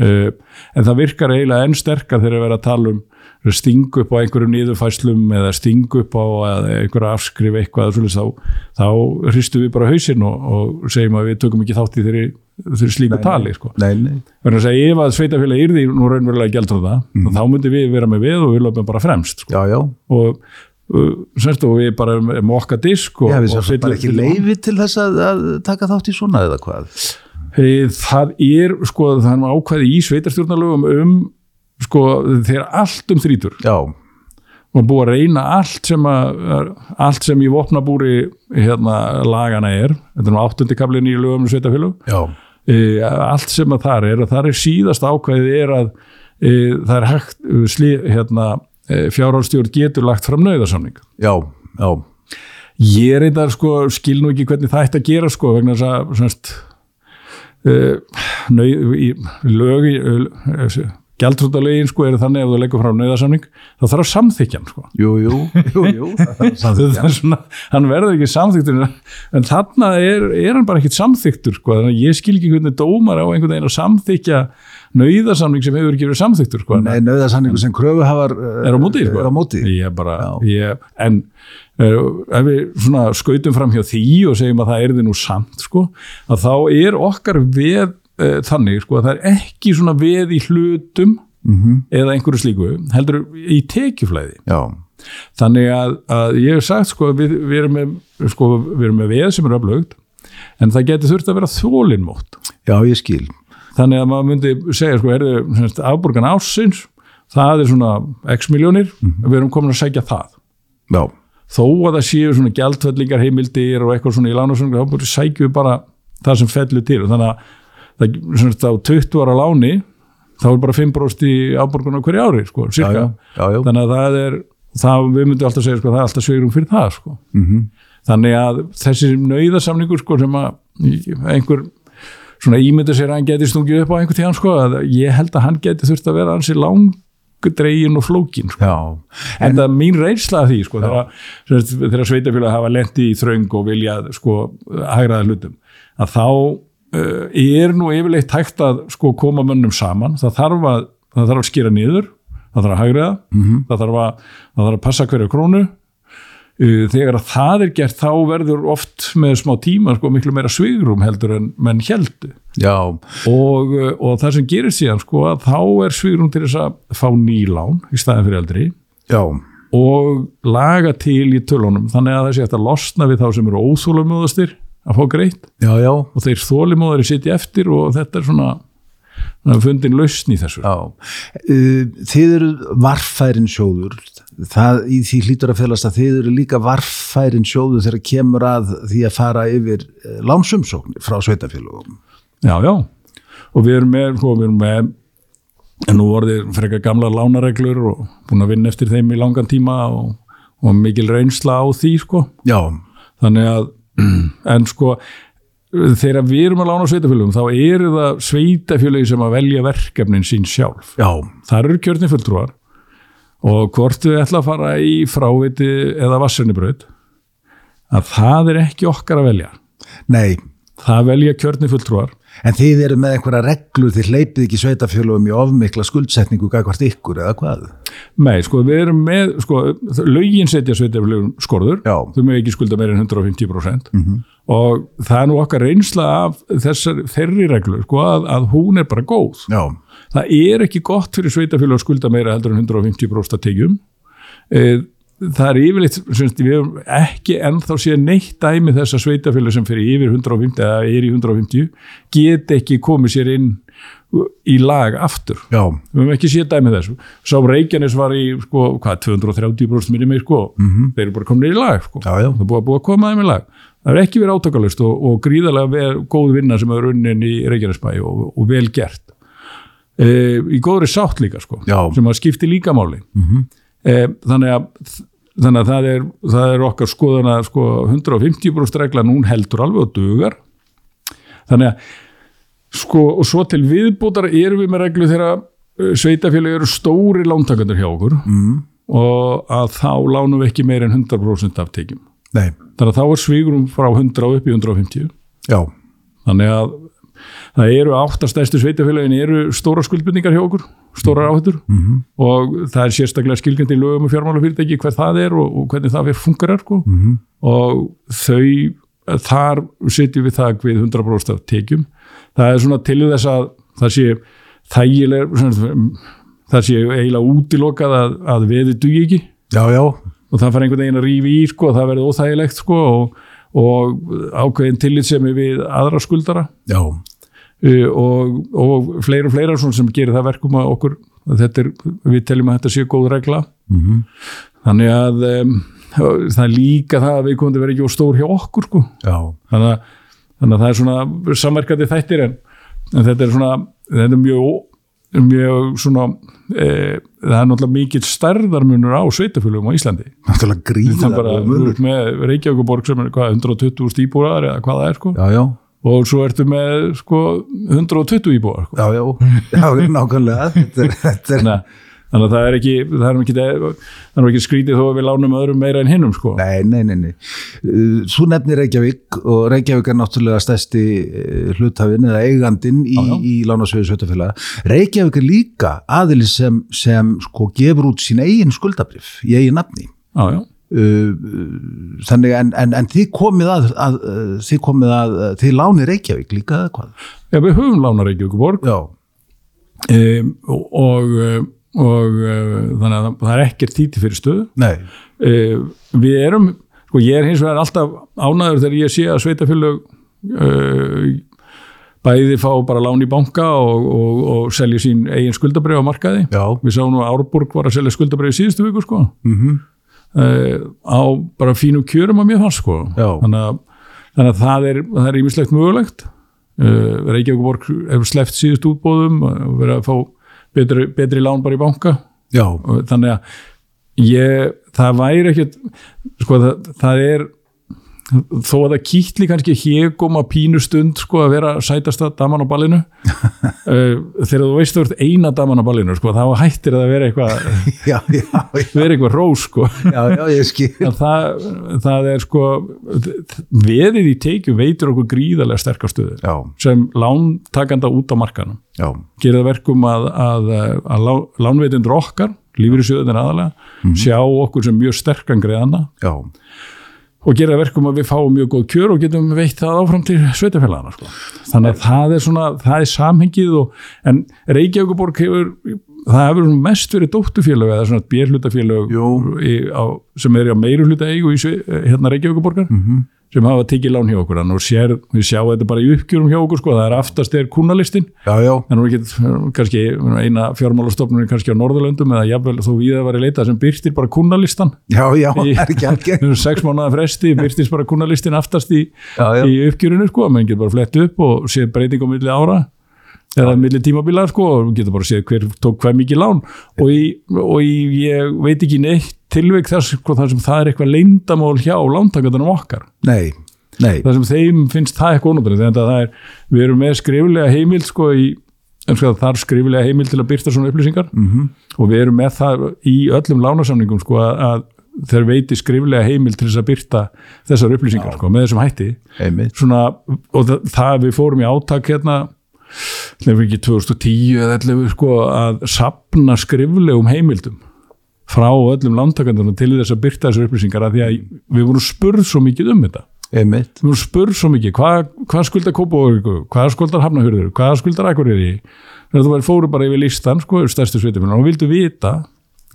[SPEAKER 2] e, en það virkar eiginlega enn sterkar þegar við erum að tala um stingu upp á einhverjum niðurfæslum eða stingu upp á að einhverja afskrif eitthvað svolítið, þá, þá hristum við bara hausinn og, og segjum að við tökum ekki þátt í þeirri, þeirri slíku tali sko.
[SPEAKER 1] nei, nei
[SPEAKER 2] verður að segja ef að sveitafélagi yrði nú raunverulega gældur það mm. þá myndum við vera með við og við löpum bara fremst sko
[SPEAKER 1] Já, já,
[SPEAKER 2] og uh, semst og við bara um okkar disk og,
[SPEAKER 1] já, við
[SPEAKER 2] og
[SPEAKER 1] sér bara
[SPEAKER 2] fyllum-
[SPEAKER 1] ekki
[SPEAKER 2] fyllum-
[SPEAKER 1] leifi til þess að, að taka þátt í svona eða hvað
[SPEAKER 2] Eh, það er sko það er ákvæði í sveitarstjórnarlögum um sko þegar allt um þrítur
[SPEAKER 1] Já,
[SPEAKER 2] og búið að reyna allt sem að, allt sem í vopnabúri hérna lagana er þetta er nú áttundi kablin í lögum um sveitafélög
[SPEAKER 1] já,
[SPEAKER 2] e, allt sem að þar er og þar er síðast ákvæðið er að e, það er hægt eh, sli, hérna, e, fjárhálstjórn getur lagt fram nöðarsamning
[SPEAKER 1] já, já
[SPEAKER 2] Ég reyndar sko, skil nú ekki hvernig það ætti að gera sko, vegna þess að semst, uh, nau, í, lög í, uh, gjaldrúttalegin sko eru þannig ef þú leggur frá nöðasamning, þá þarf að samþykja hann sko.
[SPEAKER 1] Jú, jú, jú, jú Samþykkt,
[SPEAKER 2] Það er Svona, hann verður ekki samþyktur en þarna er, er hann bara ekkit samþyktur sko, þannig að ég skil ekki hvernig dómar á einhvern veginn að samþykja nöðasamning sem hefur ekki verið samþyktur sko.
[SPEAKER 1] Nei, nöðarsanningu sem kröfuhafar eh,
[SPEAKER 2] er á móti, sko.
[SPEAKER 1] eru á móti.
[SPEAKER 2] Ég bara, ég, en uh, ef við svona skautum fram hjá því og segjum að það er þið nú samt sko, að þá er okkar veð uh, þannig sko, að það er ekki svona veð í hlutum
[SPEAKER 1] Mhm.
[SPEAKER 2] -hmm. eða einhverju slíku, heldur í tekjuflæði
[SPEAKER 1] Já,
[SPEAKER 2] þannig að, að ég hef sagt sko, við, við, erum með, sko, við erum með veð sem er öflugt en það getur þurft að vera þólinmótt
[SPEAKER 1] já, ég skil
[SPEAKER 2] þannig að maður myndi segja sko, er þið afborgan ásins það er svona x miljónir
[SPEAKER 1] Mhm.
[SPEAKER 2] við erum komin að segja það
[SPEAKER 1] já,
[SPEAKER 2] þó að það séu svona gjaldfellingar heimildir og eitthvað svona í lánasöngu þá bara sækjum við bara það sem fellur til og þannig að það, svona, á 20 ára láni þá er bara 5% í afborgun á hverju ári sko,
[SPEAKER 1] já, já,
[SPEAKER 2] cirka.
[SPEAKER 1] já, já.
[SPEAKER 2] þannig að það er það, við myndum alltaf segja sko, það er alltaf svegrum fyrir það sko.
[SPEAKER 1] Mhm.
[SPEAKER 2] þannig að þessi nöyðasamningur sko, sem að einhver svona ímynda sér að hann geti stungið upp á einhver tíðan sko, að ég held að hann geti þurft að vera hansi langdregin og flókin sko.
[SPEAKER 1] já.
[SPEAKER 2] En það er mín reynsla að því, sko, þegar, sem sagt, þegar sveitafélag hafa lendi í þröng og vilja, sko, hagraða hlutum, að þá uh, er nú yfirleitt hægt að, sko, koma mönnum saman, það þarf að, það þarf að skýra niður, það þarf að hagraða, -hmm. það, þarf að, það þarf að passa hverja krónu, Uh, þegar að það er gert þá verður oft með smá tíma sko miklu meira svigrum heldur en menn heldu
[SPEAKER 1] já,
[SPEAKER 2] og, uh, og það sem gerir síðan sko að þá er svigrum til þess að fá nýlán í staðin fyrir eldri
[SPEAKER 1] já,
[SPEAKER 2] og laga til í tölunum þannig að það sé hægt að losna við þá sem eru óþólumóðastir að fá greitt
[SPEAKER 1] já, já,
[SPEAKER 2] og þeir þólumóðari sitja eftir og þetta er svona, svona fundin lausn í þessu
[SPEAKER 1] já. Uh, Þið eru varfærin sjóður, það í því hlýtur að felast að þið eru líka varfærin sjóður þegar kemur að því að fara yfir uh, lánsumsóknir frá sveitafélagum.
[SPEAKER 2] já, já, og við erum með, sko, við erum með en nú orðið frekar gamla lánareglur og búin að vinna eftir þeim í langan tíma og, og mikil reynsla á því sko.
[SPEAKER 1] Já,
[SPEAKER 2] þannig að en sko þegar við erum að lána sveitafélögum þá eru það sveitafélögi sem að velja verkefnin sín sjálf
[SPEAKER 1] já,
[SPEAKER 2] þar eru kjörni fulltrúar og hvort við ætla að fara í fráviti eða vassennibraut að það er ekki okkar að velja
[SPEAKER 1] nei,
[SPEAKER 2] það velja kjörni fulltrúar
[SPEAKER 1] en þið eru með einhverja reglur, þið hleypið ekki sveitafélagum í ofmikla skuldsetningu gagvart ykkur eða hvað?
[SPEAKER 2] Nei, sko, við erum með, sko, lögin setja sveitafélögum skorður,
[SPEAKER 1] Já.
[SPEAKER 2] þau með ekki skulda meira en 150% og það er nú okkar reynsla af þessar, þeirri reglu, sko, að, að hún er bara góð.
[SPEAKER 1] Já,
[SPEAKER 2] Það er ekki gott fyrir sveitafélag að skulda meira heldur en 150% að tegjum. Eh, Það er yfirleitt, semst, við hefum ekki ennþá síðan neitt dæmi þess að sveitafélag sem fyrir yfir 150 eða er í 150 get ekki komið sér inn í lag aftur.
[SPEAKER 1] já,
[SPEAKER 2] Við höfum ekki séð dæmið þessu. Sá Reykjanes var í, sko, hvað, 230% minni mig, sko. -hmm. Þeir eru bara komin í lag, sko.
[SPEAKER 1] Já, já.
[SPEAKER 2] Það er búið að, búið að koma þeim í lag. Það er ekki verið átakalust og, og gríðarlega vel, góð vinna sem er unnin í Reykjanesbæ og, og vel gert. E, í góðri sátt líka, sko.
[SPEAKER 1] Já.
[SPEAKER 2] Sem að skipti líka máli. Mm -hmm. þannig að þannig að það er, það er okkar skoðan að sko 150% reglan hún heldur alveg og dugar þannig að sko, og svo til viðbútar erum við með reglu þegar sveitafélagi eru stóri lántakandur hjá okkur mm. og að þá lánum við ekki meir en 100% af tekjum.
[SPEAKER 1] nei,
[SPEAKER 2] Þannig að þá er svígrum frá 100 og upp í 150.
[SPEAKER 1] já,
[SPEAKER 2] Þannig að það eru áttastæstu sveitafélagin eru stóra skuldbindningar hjá okkur, stórar áhættur -hmm. og það er sérstaklega skilgjandi í lögum og fjármálafyrirtæki hver það er og, og hvernig það fyrir funkarar sko. mm -hmm. og þau, þar setjum við það við 100% af tekjum það er svona til þess að það sé þægileg svona, það sé eiginlega útilokað að, að veði dugi ekki
[SPEAKER 1] já, já,
[SPEAKER 2] og það fær einhvern veginn að rífi í sko, það verði óþægilegt sko, og, og ákveðin tillitsemi við aðra skuldara
[SPEAKER 1] já,
[SPEAKER 2] uh, og, og fleira og fleira svona sem gerir það verkum að okkur að þetta er, við teljum að þetta sé góð regla -hmm. þannig að um, það er líka það að við komum til að vera ekki of stór hjá okkur sko.
[SPEAKER 1] já.
[SPEAKER 2] þannig, að, þannig að það er svona samverkandi þættir en, en þetta er svona þetta er mjög ó- mjög svona e, það er náttúrulega mikill stærðarmunur á sveitafélugum á Íslandi
[SPEAKER 1] Náttúrulega
[SPEAKER 2] það
[SPEAKER 1] gríðarlega
[SPEAKER 2] bara, þú
[SPEAKER 1] munur.
[SPEAKER 2] ert með Reykjavíkuborg sem er hvað, 120 íbúrar eða hvað það er sko
[SPEAKER 1] Já, já,
[SPEAKER 2] og svo ertu með sko 120 íbúar sko.
[SPEAKER 1] já, já, já, nákvæmlega. Þetta er, þetta er,
[SPEAKER 2] þannig, að- þannig að það er ekki það er nú ekki, það er nú ekki skrítið þó að við lánum öðrum meira en hinnum sko
[SPEAKER 1] nei, nei, nei, nei. Uh, Þú nefnir Reykjavík og Reykjavík er náttúrulega stærsti uh, hluthafinn eða eigandinn í,
[SPEAKER 2] Já, já.
[SPEAKER 1] í Lánasviðu Sveitafélaga. Reykjavík er líka aðili sem, sem sko gefur út sín eigin skuldabrif í eigin nafni.
[SPEAKER 2] já, já.
[SPEAKER 1] Uh, uh, Þannig en, en, en þið komið að, að uh, þið komið að, uh, þið láni Reykjavík líka eða hvað?
[SPEAKER 2] Já, við höfum lána Reykjavíkuborg
[SPEAKER 1] Já,
[SPEAKER 2] um, og, og, eh, og eh, þannig að það er ekkert títi fyrir stöðu
[SPEAKER 1] nei,
[SPEAKER 2] uh, við erum sko ég er hins vegar alltaf ánæður þegar ég sé að sveitafélög uh, bæði fá bara lán í banka og, og, og selja sín eigin skuldabrið á markaði.
[SPEAKER 1] Já.
[SPEAKER 2] Við sáum nú að Árborg var að selja skuldabrið í síðustu viku sko.
[SPEAKER 1] Mm
[SPEAKER 2] Uh, á bara fínum kjörum að mér fannst sko.
[SPEAKER 1] Já.
[SPEAKER 2] Þannig að, þannig að það er, það er ímislegt mögulegt. Uh, Reykjavíkuborg hefur sleppt síðust útbóðum og verið að fá betri, betri lán bara í banka
[SPEAKER 1] Já,
[SPEAKER 2] og þannig að ég, það væri ekkert sko það, það er þó að það kýtli kannski hégóma pínu stund sko að vera sætasta daman á ballinu uh, þegar þú veist þú ert eina daman á ballinu sko þá hættir það að vera eitthvað
[SPEAKER 1] já, já,
[SPEAKER 2] vera eitthvað rós sko
[SPEAKER 1] já, já, ég skil.
[SPEAKER 2] en það, það er sko veðið í teikjum veitur okkur gríðarlega sterkar stöður
[SPEAKER 1] Já,
[SPEAKER 2] sem lántakanda út á markanum
[SPEAKER 1] já,
[SPEAKER 2] gera það verkum að, að, að lá- lánveitendur okkar, lífyrirsjóðunir aðalega, sjá okkur sem mjög sterkan greiðana
[SPEAKER 1] já,
[SPEAKER 2] og gera það verkum að við fáum mjög góð kjör og getum veitt það áfram til sveitafélagana sko. þannig að það er svona, það er samhengið og, en Reykjavíkuborg hefur það hefur svona mest verið dóttufélög eða svona bérhlutafélög
[SPEAKER 1] Jú.
[SPEAKER 2] í, á, sem er á meiru hluta eigu í Sve- hérna Reykjavíkuborgar -hmm. sem hafa tekið lán hjá okkur þannig að sér, við sjáum þetta bara í uppgjörum hjá okkur sko, það er aftast er kúnalistin
[SPEAKER 1] já, já,
[SPEAKER 2] en hún er ekki kannski eina fjármálastofnun kannski á Norðurlöndum eða jafnvel þó víða var í leita sem byrtir bara kunnalistan
[SPEAKER 1] já, já, það er ekki algjör.
[SPEAKER 2] sex mánuða fresti byrtist bara kunnalistin aftast í,
[SPEAKER 1] Já, já.
[SPEAKER 2] í uppgjörinu sko, menn getur bara flett upp og séð breyting á milli ára eða milli tímabila sko, og getur bara séð hver tók hvað mikið lán og, í, og í, ég veit ekki neitt tilveik þess, sko, þar sem það er eitthvað leyndamál hjá lántakandunum okkar
[SPEAKER 1] Nei, nei,
[SPEAKER 2] það sem þeim finnst það eitthvað ónútrið þannig að það er, við erum með skriflega heimild sko í, um sko þar skriflega heimild til að byrta svona upplýsingar -hmm. og við erum með það í öllum lánasamningum sko að, að þeir veiti skriflega heimild til þess að byrta þessar upplýsingar sko með þessum hætti
[SPEAKER 1] einmitt.
[SPEAKER 2] svona, og það, það við fórum í átak hérna nefnir ekki 2010 eða 11 sko, að sapna skriflegum heimildum frá öllum lántakandunum til þess að byrta þessar upplýsingar að því að við vorum spurð svo mikið um þetta
[SPEAKER 1] Einmitt,
[SPEAKER 2] þú spurð svo mikið, hvað, hvað skuldar Kópavóku, hvað skuldar Hafnahurður, hvað skuldar Akureyri, þannig að þú væri fóru bara yfir listan, sko, yfir stærstu sveitafélagin og vildu vita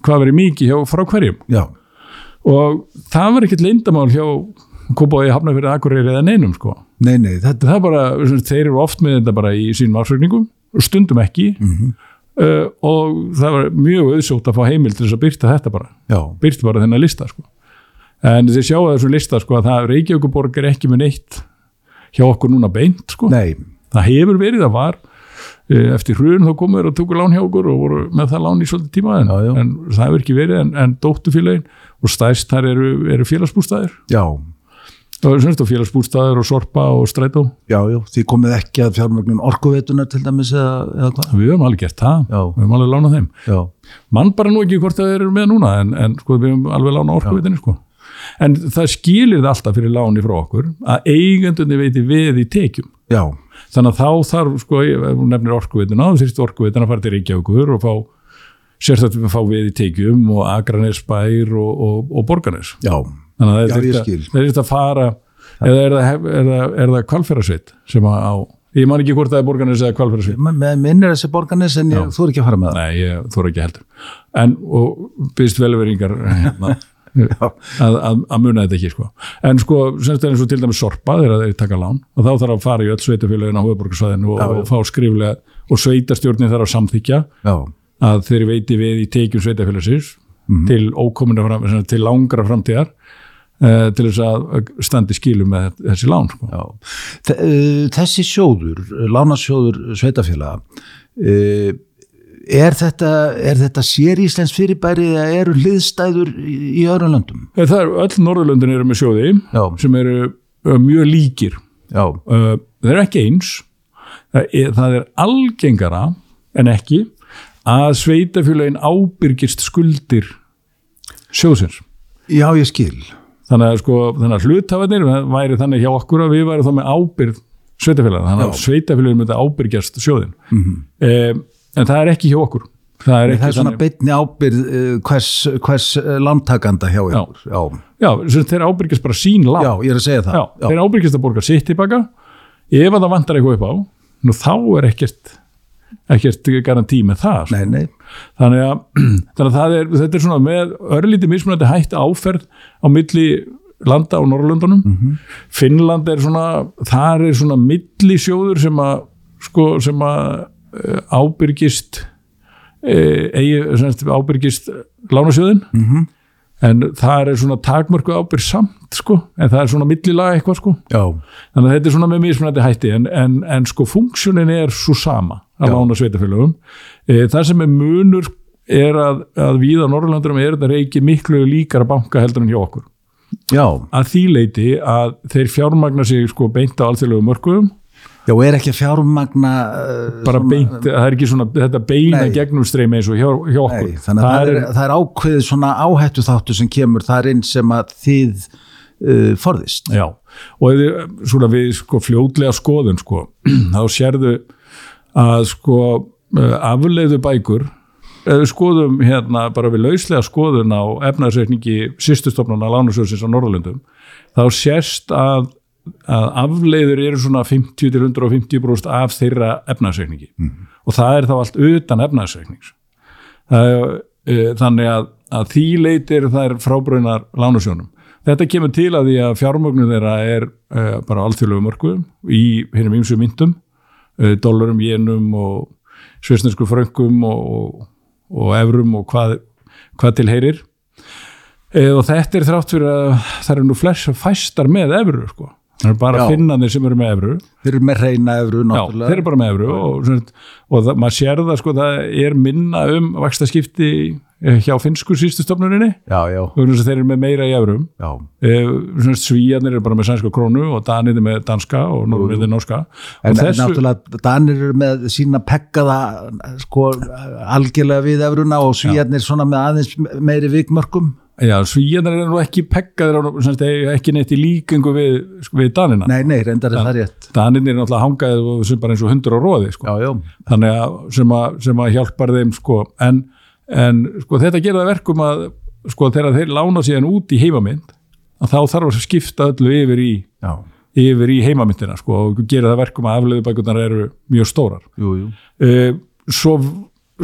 [SPEAKER 2] hvað verið mikið hjá frá hverjum
[SPEAKER 1] já,
[SPEAKER 2] og það var ekkert leyndamál hjá Kópavogi, Hafnahurður, Akureyri eða neinum, sko.
[SPEAKER 1] nei, nei, þetta,
[SPEAKER 2] Það er bara, sem sagt, þeir eru oft með þetta bara í sínum afsökningum og stundum ekki uh, og það var mjög auðsótt að fá heimil til þess að byrta þetta bara
[SPEAKER 1] já,
[SPEAKER 2] byrti bara þennan lista sko. en þið sjáu þessum lista sko, að það Reykjavíkuborg er ekki með neitt hjá okkur núna beint sko.
[SPEAKER 1] nei,
[SPEAKER 2] það hefur verið, það var eh, eftir hrun þá komu þeir og tóku lán hjá okkur og voru með það lán í svolítið tíma en,
[SPEAKER 1] Já, já.
[SPEAKER 2] en það hefur ekki verið en, en dóttufélagin og stærst þar eru, eru félagsbústæðir
[SPEAKER 1] já,
[SPEAKER 2] það eru semst og félagsbústæðir og sorpa og strætó
[SPEAKER 1] já, já, því komið ekki að fjármögnun orkuveitunar til dæmis eða, eða hvað?
[SPEAKER 2] við höfum alveg gert það,
[SPEAKER 1] Já.
[SPEAKER 2] við höfum alveg lánað þeim
[SPEAKER 1] Já,
[SPEAKER 2] mann bara nú ekki hvort það eru með núna en, en sko við höfum alveg lána orkuvitinni sko en það skilir það alltaf fyrir láni frá okkur að eigendunni veiti veð í tekjum
[SPEAKER 1] já,
[SPEAKER 2] þannig að þá þarf sko ef hún nefnir orkuvitina þá þyrst orkuvitina að fara til Reykjavíkur og fá sérstætt að fá veð í tekjum og Akranes bær og, og, og Borganes
[SPEAKER 1] já,
[SPEAKER 2] þannig að
[SPEAKER 1] Já,
[SPEAKER 2] það
[SPEAKER 1] ég
[SPEAKER 2] þyrfti
[SPEAKER 1] skil.
[SPEAKER 2] að- það þyrfti að fara eða er það, er það, er það kvalfjörasveit sem að á, ég man ekki hvort það er Borganes eða kvalfjörasveit
[SPEAKER 1] með minnir þessi borganis en ég, þú er ekki að fara með það.
[SPEAKER 2] Nei, ég þóra ekki heldur. En, og byrst velveringar hérna,
[SPEAKER 1] Já.
[SPEAKER 2] að, að, að muna þetta ekki, sko. En sko, semst er eins og til dæmis sorpa þegar þeir taka lán og þá þarf að fara í öll sveitafélagin á höfuborgarsvæðinu og,
[SPEAKER 1] Já, já.
[SPEAKER 2] og fá skriflega og sveitarstjórnin þarf að samþykja
[SPEAKER 1] Já,
[SPEAKER 2] að þeir veiti við í tekjum sveitafélagsins
[SPEAKER 1] Mhm.
[SPEAKER 2] til ókominu fram, sem sagt, til langra framtíðar eh, til þess að standi skilum með þessi lán, sko.
[SPEAKER 1] já. Þe- eh, Þessi sjóður, lánasjóður sveitafélaga, eh, er þetta, er þetta sér íslensk fyrirbæri eða eru hliðstæður í í öðrum löndum?
[SPEAKER 2] Eh, Það er, öll Norðurlöndin eru með sjóði
[SPEAKER 1] Já.
[SPEAKER 2] sem eru eh, mjög líkir
[SPEAKER 1] Já,
[SPEAKER 2] uh, það er ekki eins það er, það er algengara en ekki að sveitafjölaugin ábyrgist skuldir sjóðsins
[SPEAKER 1] já ég skil.
[SPEAKER 2] þannig að, sko, þannig að hlutafarnir væri þannig hjá okkur að við væri þá með ábyrgð sveitafjölaugin, þannig að sveitafjölaugin myndi ábyrgjast sjóðin mm en það er ekki hjá okkur það er,
[SPEAKER 1] Mhm. Það er svona beinni ábyrð eh, hvers, hvers eh, lántakanda hjá ykkur. Já.
[SPEAKER 2] já, sem sagt, þeir ábyrgjast bara sín
[SPEAKER 1] Já.
[SPEAKER 2] lán
[SPEAKER 1] ég er að segja það.
[SPEAKER 2] Já, þeir ábyrgjast að borga sitt tilbaka ef að það vantar eitthvað upp á nú þá er ekkert ekkert garantí með það sko.
[SPEAKER 1] Nei, nei,
[SPEAKER 2] þannig að, þannig að það er, þetta er svona með örlítið mismunandi hætt áferð á milli landa á Norrlöndunum Finnland er svona, þar er svona milli sjóður sem að sko sem að eh, ábyrgist eh, eigi, sem sagt, ábyrgist lánasjóðin
[SPEAKER 1] Mhm.
[SPEAKER 2] en það er svona takmörku ábyrg samt sko, en það er svona millilaga eitthvað sko
[SPEAKER 1] já,
[SPEAKER 2] þannig að þetta er svona með mismunandi hætti en, en, en sko funksjónin er svo sama að
[SPEAKER 1] Já.
[SPEAKER 2] lána sveitafélögum e, það sem er munur er að, að við á Norrlandurum er þetta reiki miklu líkara banka heldur en hjá okkur
[SPEAKER 1] já,
[SPEAKER 2] að því leiti að þeir fjármagna sig sko beint á alþjóðlegum mörkuðum
[SPEAKER 1] já, og er ekki að fjármagna eh,
[SPEAKER 2] bara
[SPEAKER 1] svona-
[SPEAKER 2] beint, það er ekki svona þetta beina
[SPEAKER 1] Nei.
[SPEAKER 2] gegnumstreymi eins og hjá, hjá okkur
[SPEAKER 1] Nei, þannig að það er, það er ákveðið svona áhættu þáttu sem kemur þar inn sem að þið uh, forðist.
[SPEAKER 2] Já, og ef þið, svona við sko fljótlega skoðum sko, þá sérðu að sko afleiðu bækur ef við skoðum hérna bara við lauslega skoðun á efnaðsreikningi sýstustofnana lánasjóðsins á Norðalundum þá sérst að, að afleiður eru svona 50-150% af þeirra efnaðsreikningi og það er þá allt utan efnaðsreiknings það er, eh, þannig að, að því leitir þær frábraunar lánasjónum. Þetta kemur til að því að fjármögnum þeirra er uh, bara alþjóðlegu mörkuðum í hinnum ýmsu myndum, uh, dollarum, jenum og svisnesku fröngum og, og, og evrum og hvað, hvað til heyrir. Eh, og þetta er þrátt fyrir að það eru nú flest fæstar með evru sko. Það eru bara
[SPEAKER 1] Já.
[SPEAKER 2] finnanir sem eru með evru.
[SPEAKER 1] Þeir eru með reyna efru
[SPEAKER 2] Já,
[SPEAKER 1] náttúrulega.
[SPEAKER 2] þeir eru bara með evru og, sem sagt, og það, maður sér það sko, það er minna um vakstaskipti eh, hjá finnsku sístu stofnuninni
[SPEAKER 1] Já, já,
[SPEAKER 2] vegna þess að þeir eru með meira í evrum
[SPEAKER 1] já,
[SPEAKER 2] eh, sem sagt, svíjarnir eru bara með sænska krónu og danið með danska og norðurðið norska
[SPEAKER 1] En,
[SPEAKER 2] og
[SPEAKER 1] en náttúrulega Danir eru með sína pekkaða eh, sko algjörlega við efruna og svíjarnir svona með aðeins meiri vikmörkum.
[SPEAKER 2] já, svíjarnir eru nú ekki pekkaðir á- sem sagt, eiga ekki neitt í líkingu við, við danina
[SPEAKER 1] Nei, nei, reyndar er það rétt.
[SPEAKER 2] danirnir eru náttúrulega hangaðið og sem bara eins og hundur á róði sko.
[SPEAKER 1] Já, já,
[SPEAKER 2] þannig að sem að, sem að hjálpar þeim sko, en, en sko, þetta gerir það verkum að sko, þegar þeir lána síðan út í heimamynd að þá þarf að skipta öllu yfir í,
[SPEAKER 1] já,
[SPEAKER 2] yfir í heimamyndina sko, og gerir það verkum að afleiðubækurnar eru mjög stórar
[SPEAKER 1] jú, jú.
[SPEAKER 2] uh, svo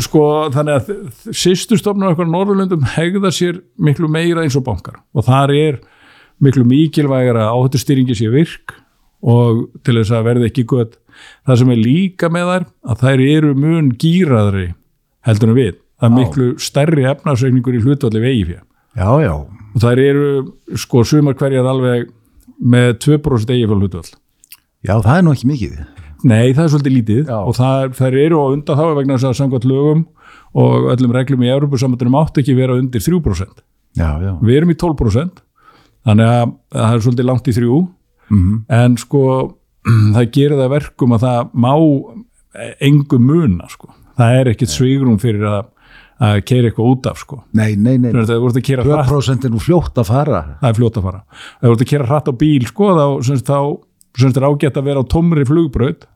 [SPEAKER 2] sko þannig að sýstu stofnum okkur Norðurlöndum hegða sér miklu meira eins og bankar og þar er miklu mikilvægara að áhættustýringi sé virk og til þess að verði ekki gött það sem er líka með þær að þær eru mun gýraðri heldur en við, það er
[SPEAKER 1] Já.
[SPEAKER 2] miklu stærri efnarsreikningur í hlutvalli vegi fyrir
[SPEAKER 1] Já, já,
[SPEAKER 2] og þær eru sko sumar hverjar alveg með 2% eigi fyrir hlutvall
[SPEAKER 1] já, það er nú ekki mikið.
[SPEAKER 2] Nei, það er svolítið lítið
[SPEAKER 1] Já.
[SPEAKER 2] og það, þær eru á undan þá vegna þess að samkvæmt lögum og öllum reglum í Európa-samandunum átt ekki vera undir 3%.
[SPEAKER 1] Já, já,
[SPEAKER 2] Við erum í 12%, þannig að að það er svolítið langt í 3
[SPEAKER 1] Mhm.
[SPEAKER 2] en sko það gerir það verkum að það má engu muna sko. Það er ekkit svigrum fyrir að, að keira eitthvað út af sko.
[SPEAKER 1] nei, nei, nei,
[SPEAKER 2] Það voru að keira hratt
[SPEAKER 1] 2% er nú fljótt að fara.
[SPEAKER 2] það er fljótt að fara ef þú ert að kera hratt á bíl sko þá, sem sagt, þá sem sagt, er ágætt að vera á tómri flugbraut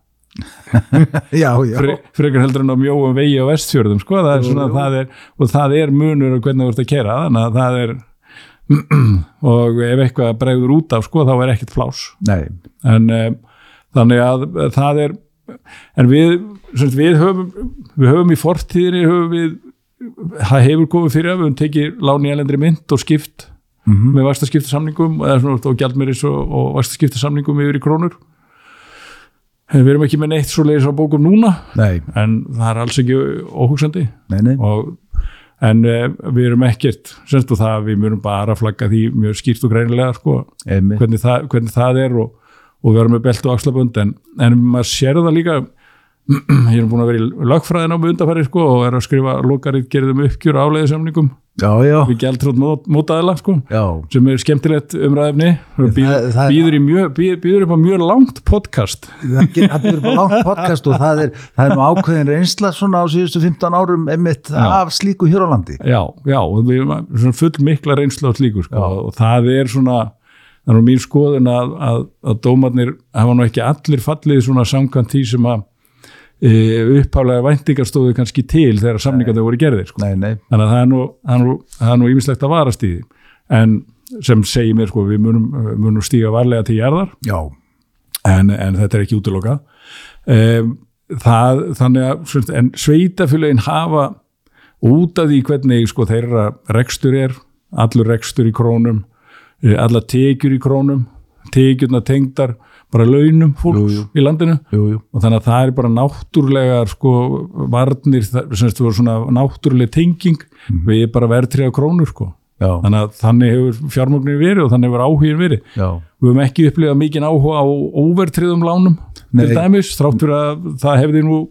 [SPEAKER 1] Já, já,
[SPEAKER 2] fre- frekar heldur en á mjóum vegi á vestfjörðum sko, það er svona, það er, og það er munur á hvernig þú ert að kera, þannig að það er og ef eitthvað bregður út af sko, þá er ekkert flás
[SPEAKER 1] nei,
[SPEAKER 2] en um, þannig að eh, það er en við, sem sagt, við höfum við höfum í fortíðinni höfum við, það hefur komið fyrir að við höfum tekið lán í elendri mynd og skipt með vastaskiptasamningum eða svona og gjaldmyris og, og vastaskiptasamningum yfir í krónur en við erum ekki með neitt svo leiðis á bókum núna
[SPEAKER 1] nei,
[SPEAKER 2] en það er alls ekki óhugsandi
[SPEAKER 1] nei, nei,
[SPEAKER 2] og, en uh, við erum ekkert semst og það við mjögum bara að flagga því mjög skýrt og greinilega sko,
[SPEAKER 1] einmitt.
[SPEAKER 2] hvernig, það, hvernig það er og, og við erum með belt og axlabönd en, en maður sér það líka ég er búin að vera í lögfræðin á með undarfæri sko, og er að skrifa um lókarið gerðum uppgjur áleiðisamningum
[SPEAKER 1] Já, já,
[SPEAKER 2] við gæltrótt mót, mótaðila sko,
[SPEAKER 1] já.
[SPEAKER 2] sem er skemmtilegt umræðefni og býður,
[SPEAKER 1] Það- það-
[SPEAKER 2] býður, í mjög, býður, býður upp á mjög langt podcast
[SPEAKER 1] það ge- það er bara langt podcast og það er, það er nú ákveðin reynsla svona á síðustu 15 árum einmitt af slíku hér á landi
[SPEAKER 2] Já, já, og við erum að- svona full mikla reynslu á slíku sko, og það er svona það er nú mín skoðin að, að, að dómarnir hafa nú ekki allir fallið svona samkvæmt því sem að e, upphálega væntingar stóðu kannski til þegar samningarnir voru gerðir sko.
[SPEAKER 1] Nei, nei,
[SPEAKER 2] þannig að það er nú, það er nú, það er nú ýmislegt að varast í því en sem segir mér sko við munum, munum stíga varlega til jarðar
[SPEAKER 1] já,
[SPEAKER 2] en, en þetta er ekki útilokað um, það, þannig að sem sagt, en sveitafélögin hafa út af því hvernig sko, þeirra rekstur er, allur rekstur í krónum eh, allar tekjur í krónum tekjurna tengdar bara launum fólks
[SPEAKER 1] Jú,
[SPEAKER 2] í landinu
[SPEAKER 1] jú, jú.
[SPEAKER 2] og þannig að það er bara náttúrulegar sko varnir, það- sem þetta voru svona náttúruleg tenging
[SPEAKER 1] Mhm.
[SPEAKER 2] við bara verðtriða krónur sko
[SPEAKER 1] Já,
[SPEAKER 2] þannig að þannig hefur fjármögnir verið og þannig hefur áhugin verið
[SPEAKER 1] já,
[SPEAKER 2] við höfum ekki upplifað mikinn áhuga á óvertriðum lánum
[SPEAKER 1] Nei.
[SPEAKER 2] til dæmis, þrátt fyrir að það hefði nú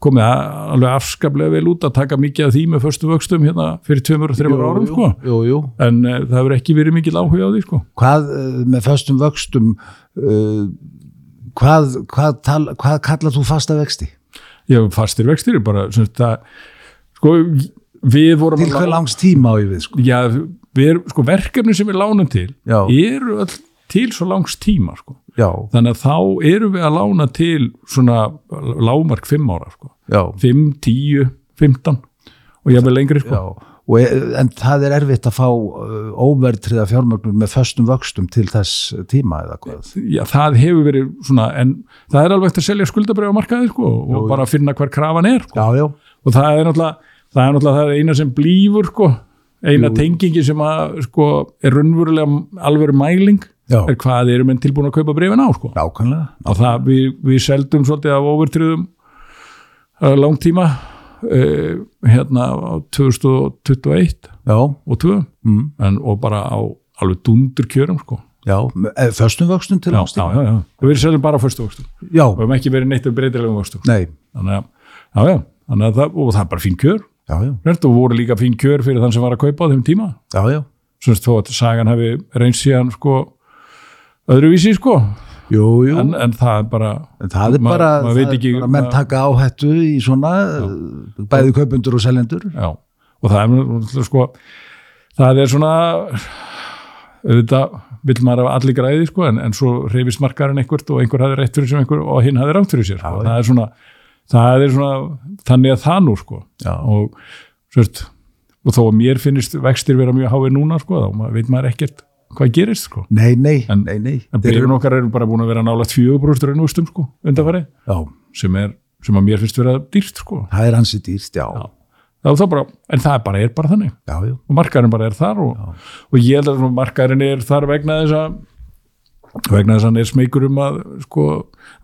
[SPEAKER 2] komið a- alveg afskaplega vel út að taka mikið af því með föstu vöxtum hérna fyrir tveimur og þreimur árum
[SPEAKER 1] jú,
[SPEAKER 2] sko
[SPEAKER 1] jú, jú.
[SPEAKER 2] en uh, það hefur ekki verið mikill áhuga á því sko
[SPEAKER 1] Hvað eh, með föstum vöxtum, uh, hvað, hvað, tal, hvað kallar þú fasta vexti?
[SPEAKER 2] já, fastir vextir er bara sem sagt, það, sko, við vorum
[SPEAKER 1] Til
[SPEAKER 2] að
[SPEAKER 1] hver
[SPEAKER 2] lá-
[SPEAKER 1] langs tíma á ég við, sko?
[SPEAKER 2] já, við erum, sko, verkefni sem við lánum til
[SPEAKER 1] Já.
[SPEAKER 2] eru all, til svo langs tíma sko.
[SPEAKER 1] Já,
[SPEAKER 2] þannig að þá erum við að lána til svona lágmark 5 ára sko.
[SPEAKER 1] já,
[SPEAKER 2] 5, 10, 15 og ég vil lengri
[SPEAKER 1] já.
[SPEAKER 2] sko.
[SPEAKER 1] Og, eh, en það er erfitt að fá uh, óvertriða fjármögnum með föstum vöxtum til þess tíma eða hvað?
[SPEAKER 2] Já, það hefur verið svona en það er alveg eftir að selja skuldabrið á markaði sko, og
[SPEAKER 1] Jú, jú.
[SPEAKER 2] bara finna hver krafan er sko.
[SPEAKER 1] Já, já,
[SPEAKER 2] og það er náttúrulega það er náttúrulega það er eina sem blífur sko, eina
[SPEAKER 1] Jú.
[SPEAKER 2] tengingin sem að, sko, er raunverulega alvegur mæling
[SPEAKER 1] Já.
[SPEAKER 2] er hvað eru menn tilbúin að kaupa brefin á sko.
[SPEAKER 1] nákvæmlega.
[SPEAKER 2] og það við, við seldum svolítið af overtriðum uh, langtíma uh, hérna á 2021
[SPEAKER 1] Já,
[SPEAKER 2] og 2
[SPEAKER 1] mm,
[SPEAKER 2] en, og bara á alveg dundur kjörum sko.
[SPEAKER 1] já, með- eh, föstum vöxtum til
[SPEAKER 2] já,
[SPEAKER 1] langs
[SPEAKER 2] já,
[SPEAKER 1] tíma?
[SPEAKER 2] já, já, við seljum bara á fyrstu vöxtum
[SPEAKER 1] Já,
[SPEAKER 2] við hefum ekki verið neitt um breytilegum vöxtum
[SPEAKER 1] nei,
[SPEAKER 2] þannig að, já, já, þannig að það, og það er bara fín kjör
[SPEAKER 1] já, já,
[SPEAKER 2] Rent og voru líka fín kjör fyrir þann sem var að kaupa á þeim tíma.
[SPEAKER 1] já, já.
[SPEAKER 2] Svo þó að sagan hafi reynst síðan sko öðruvísi sko.
[SPEAKER 1] Jú, jú.
[SPEAKER 2] En, en það er bara,
[SPEAKER 1] En það er
[SPEAKER 2] Ma-
[SPEAKER 1] bara,
[SPEAKER 2] maður
[SPEAKER 1] það
[SPEAKER 2] veit
[SPEAKER 1] er
[SPEAKER 2] ekki-
[SPEAKER 1] bara menn
[SPEAKER 2] maður-
[SPEAKER 1] taka áhættu í svona eh, bæði kaupundur og seljendur.
[SPEAKER 2] já, og það er náttúrulega, sko, það er svona, auðvitað vill maður hafa allir græði sko, en, en svo reyfist markarinn einhvert og einhver hafi rétt fyrir sér og einhver og hinn hafi rátt fyrir sér. Sko.
[SPEAKER 1] Já, já.
[SPEAKER 2] Það er svona, það er svona, þannig að það nú sko.
[SPEAKER 1] Já.
[SPEAKER 2] Og, sérst, og þó að mér finnist vextir vera mjög háið núna sko, þá ma- veit maður ekkert hvað gerist sko.
[SPEAKER 1] Nei, nei,
[SPEAKER 2] En-
[SPEAKER 1] nei, nei.
[SPEAKER 2] En
[SPEAKER 1] Þeir
[SPEAKER 2] byrjun okkar eru bara búin að vera nálaðt fjögurbrúst raunvöxtum sko, undanfæri,
[SPEAKER 1] Já,
[SPEAKER 2] sem, er, sem að mér finnst vera dýrt sko.
[SPEAKER 1] það er hansi dýrt, já.
[SPEAKER 2] Já. Það er þá bara, en það er bara, er bara þannig.
[SPEAKER 1] Já, já,
[SPEAKER 2] Og markaðurinn bara er þar og, og ég held að svona markaðurinn er þar vegna þess að vegna þess að hann er smeykur um að sko,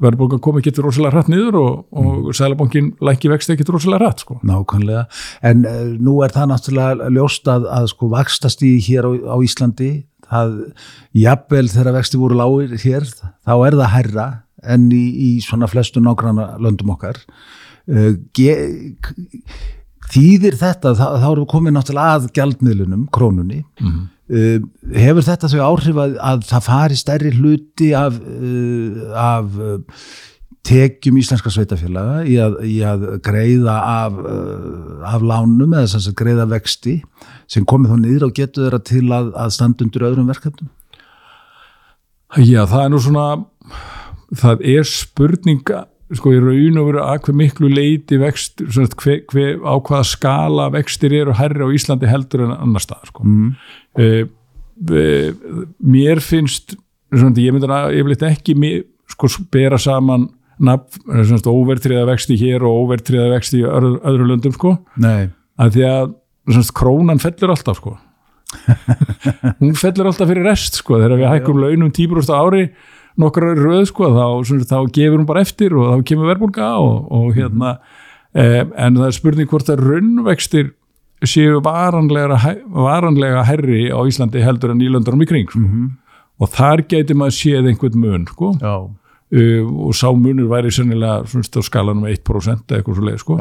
[SPEAKER 2] verðbólgan komi ekki rosalega hratt niður og, og mm. sælabankin lækki vexti ekki rosalega hratt sko.
[SPEAKER 1] nákvæmlega. En uh, nú er það náttúrulega ljóst að, að sko vakstastíði hér á, á Íslandi, það, jafnvel þegar vexti voru lágir hér, þá er það hærra enn í, í svona flestu nágranna löndum okkar. Uh, ge- k- þýðir þetta, þá, þá erum við komin náttúrulega að gjaldmiðlunum, krónunni, Uh, hefur þetta þau áhrif að, að það fari stærri hluti af, uh, af uh, tekjum íslenska sveitafélaga í að, í að greiða af, uh, af lánum eða sem sagt greiða vexti sem komið þá niður og getur þeirra til að, að standa undir öðrum verkefnum?
[SPEAKER 2] Já, það er nú svona það er spurninga sko í raun og veru að hver miklu leiti vextur, svona hver, hver, á hvaða skala vextir eru hærri á Íslandi heldur en annar stað sko. mm. mér finnst svona, ég myndi að ég vil ekki mi- sko, bera saman nafn, óvertriða vexti hér og óvertriða vexti í öðru, öðru löndum sko
[SPEAKER 1] Nei.
[SPEAKER 2] að því að svona, krónan fellur alltaf sko hún fellur alltaf fyrir rest sko þegar við hækkum launum 10% á ári nokkra í röð sko þá, svona, þá gefur hún bara eftir og þá kemur verðbólga og, og hérna mm. en það er spurning hvort að raunvextir séu varanlega, hæ- varanlega herri á Íslandi heldur en nýlöndunum í kring sko. og þar gæti maður séð einhvern mun sko
[SPEAKER 1] Já,
[SPEAKER 2] uh, og sá munur væri sennilega svona, á skalanum 1% eða eitthvað svo leið sko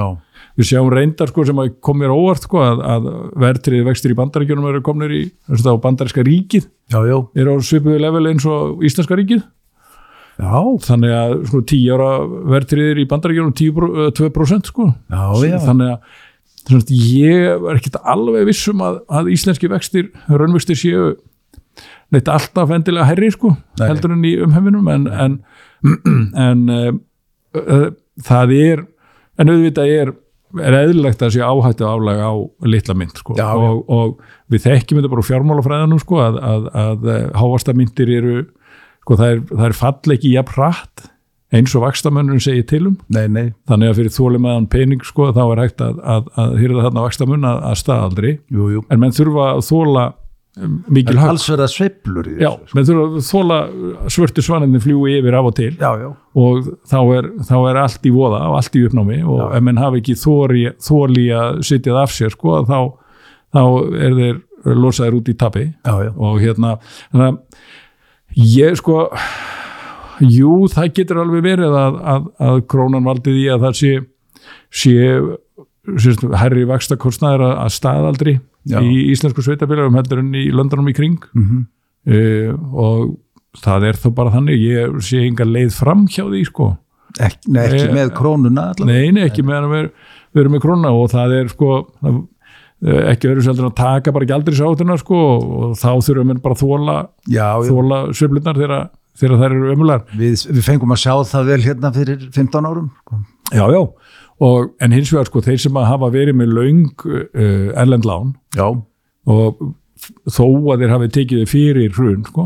[SPEAKER 2] við sjáum reyndar sko sem að kom mér á óvart sko að, að verðtriði vextir í bandaríkjunum eru komnir í þess að bandaríska ríkið
[SPEAKER 1] já, já.
[SPEAKER 2] eru á svipuðu level eins og íslenska ríkið
[SPEAKER 1] Já,
[SPEAKER 2] þannig að sko 10 ára verðtriðir í bandaríkjunum 10 pró- eh, 2% sko
[SPEAKER 1] Já, já.
[SPEAKER 2] þannig að sem sagt, ég er ekkert alveg vissum að, að íslenski vextir, raunvextir séu neitt alltaf endilega herri sko,
[SPEAKER 1] Nei.
[SPEAKER 2] heldur en í umheiminum en, en, en uh, uh, það er en auðvitað er, er eðlilegt að sé áhættu aflega á litla mynd sko.
[SPEAKER 1] Já, já.
[SPEAKER 2] og, og við þekkjum þetta bara úr fjármálafræðanum sko, að, að, að hávastamindir eru sko, það, er, það er fall ekki jafn hratt eins og vakstamönnurinn segir til um
[SPEAKER 1] nei, nei,
[SPEAKER 2] þannig að fyrir þólimaðan pening sko, þá er hægt að, að, að hýrða þarna vakstamönn að, að staðaldri
[SPEAKER 1] jú, jú.
[SPEAKER 2] en menn þurfa að þóla mikil högg.
[SPEAKER 1] alls verða sveiflur í
[SPEAKER 2] Já,
[SPEAKER 1] þessu.
[SPEAKER 2] menn þurfa að þóla svörtu svaninni fljúi yfir af og til
[SPEAKER 1] Já, já,
[SPEAKER 2] og þá er, þá er allt í voða og allt í uppnámi og
[SPEAKER 1] Já.
[SPEAKER 2] ef menn hafi ekki þóli, þóli að sitjað af sér sko, þá, þá er þeir losaðir út í tapi
[SPEAKER 1] já, já.
[SPEAKER 2] og hérna þannig að ég sko jú, það getur alveg verið að, að, að krónan valdi því að það sé sé sérst, herri vakstakostnaður að, að staðaldri
[SPEAKER 1] Já.
[SPEAKER 2] í íslensku sveitafélagum heldur en í löndunum í kring
[SPEAKER 1] Mm
[SPEAKER 2] uh, og það er þó bara þannig ég sé enga leið fram hjá því sko
[SPEAKER 1] Ek, nei, ekki
[SPEAKER 2] Nei,
[SPEAKER 1] með krónuna allavega.
[SPEAKER 2] nei, nei, ekki meðan við, við erum með krónna og það er sko það, eh, ekki verið seldur að taka bara gjaldri sáttuna sko og þá þurfum við bara að þóla
[SPEAKER 1] Já, já.
[SPEAKER 2] þóla sveiflunar þegar, þegar þær eru ömulegar
[SPEAKER 1] Við, við fengum að sjá það vel hérna fyrir 15 árum. sko.
[SPEAKER 2] já, já. Og, en hins vegar sko þeir sem að hafa verið með löng uh, erlend lán
[SPEAKER 1] Já,
[SPEAKER 2] og þó að þeir hafi tekið þau fyrir hrun sko,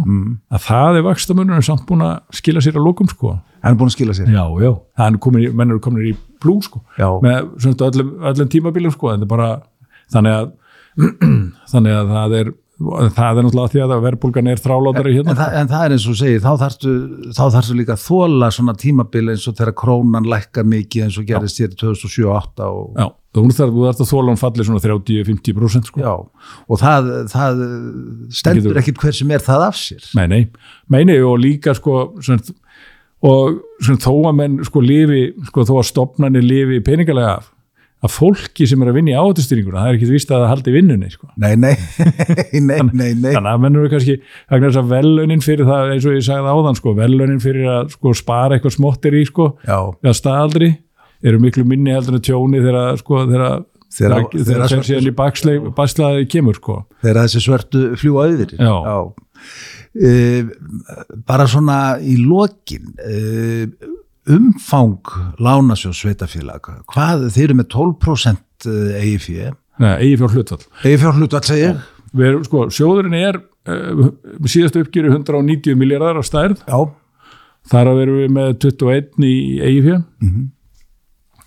[SPEAKER 2] að það er vakstamunum samt búin að skila sér að lokum sko.
[SPEAKER 1] hann er búin að skila sér.
[SPEAKER 2] já, já, hann komin, í- menn eru komin í plú sko,
[SPEAKER 1] Já.
[SPEAKER 2] með svona öllum, öllum tímabilum sko, en það er bara þannig að, þannig að það er það er náttúrulega því að verðbólgan er þrálátari
[SPEAKER 1] En,
[SPEAKER 2] hérna
[SPEAKER 1] það, en það er eins og þú segir, þá þarftu, þá þarftu líka að þóla svona tímabil eins og þegar krónan lækkar mikið eins og gerist hér í 2007 og 2008 og...
[SPEAKER 2] já, þú þarf þú þarft að þóla hún falli svona 30-50% sko.
[SPEAKER 1] Já, og það, það stendur
[SPEAKER 2] Getur-
[SPEAKER 1] ekkit hver sem er það af sér.
[SPEAKER 2] Nei, nei, nei, nei og líka sko, sem, og sem þó að menn sko lifi, sko þó að stopnarnir lifi peningalega af, að fólki sem er að vinna í áhættustýringuna, það er ekki víst að það haldi vinnunni, sko.
[SPEAKER 1] Nei, nei, nei, nei, nei.
[SPEAKER 2] Þannig að menn eru kannski, vegna þess að velunin fyrir það, eins og ég sagði áðan, sko, velunin fyrir að sko spara eitthvað smottir í, sko,
[SPEAKER 1] Já,
[SPEAKER 2] eða staðaldri, eru miklu minni heldur en tjóni þegar, að, sko, þegar að-
[SPEAKER 1] Þegar-
[SPEAKER 2] þegar
[SPEAKER 1] þegar-
[SPEAKER 2] þegar þegar síðan í baksleif, bakslaði kemur, sko.
[SPEAKER 1] þegar þessi svörtu fljúa auðir.
[SPEAKER 2] Já.
[SPEAKER 1] E, bara svona í lokin, e, umfang lánasjóð sveitafélag, hvað, þeir eru með e, 12% eigi fyrir,
[SPEAKER 2] Nei, eigi fjár hlutfall.
[SPEAKER 1] eigi fyrir hlutu að segja.
[SPEAKER 2] Við erum, sko, sjóðurinn er uh, síðast uppgjöru 190 miljardar á stærð,
[SPEAKER 1] Já,
[SPEAKER 2] þar að verum við með 21 í EIF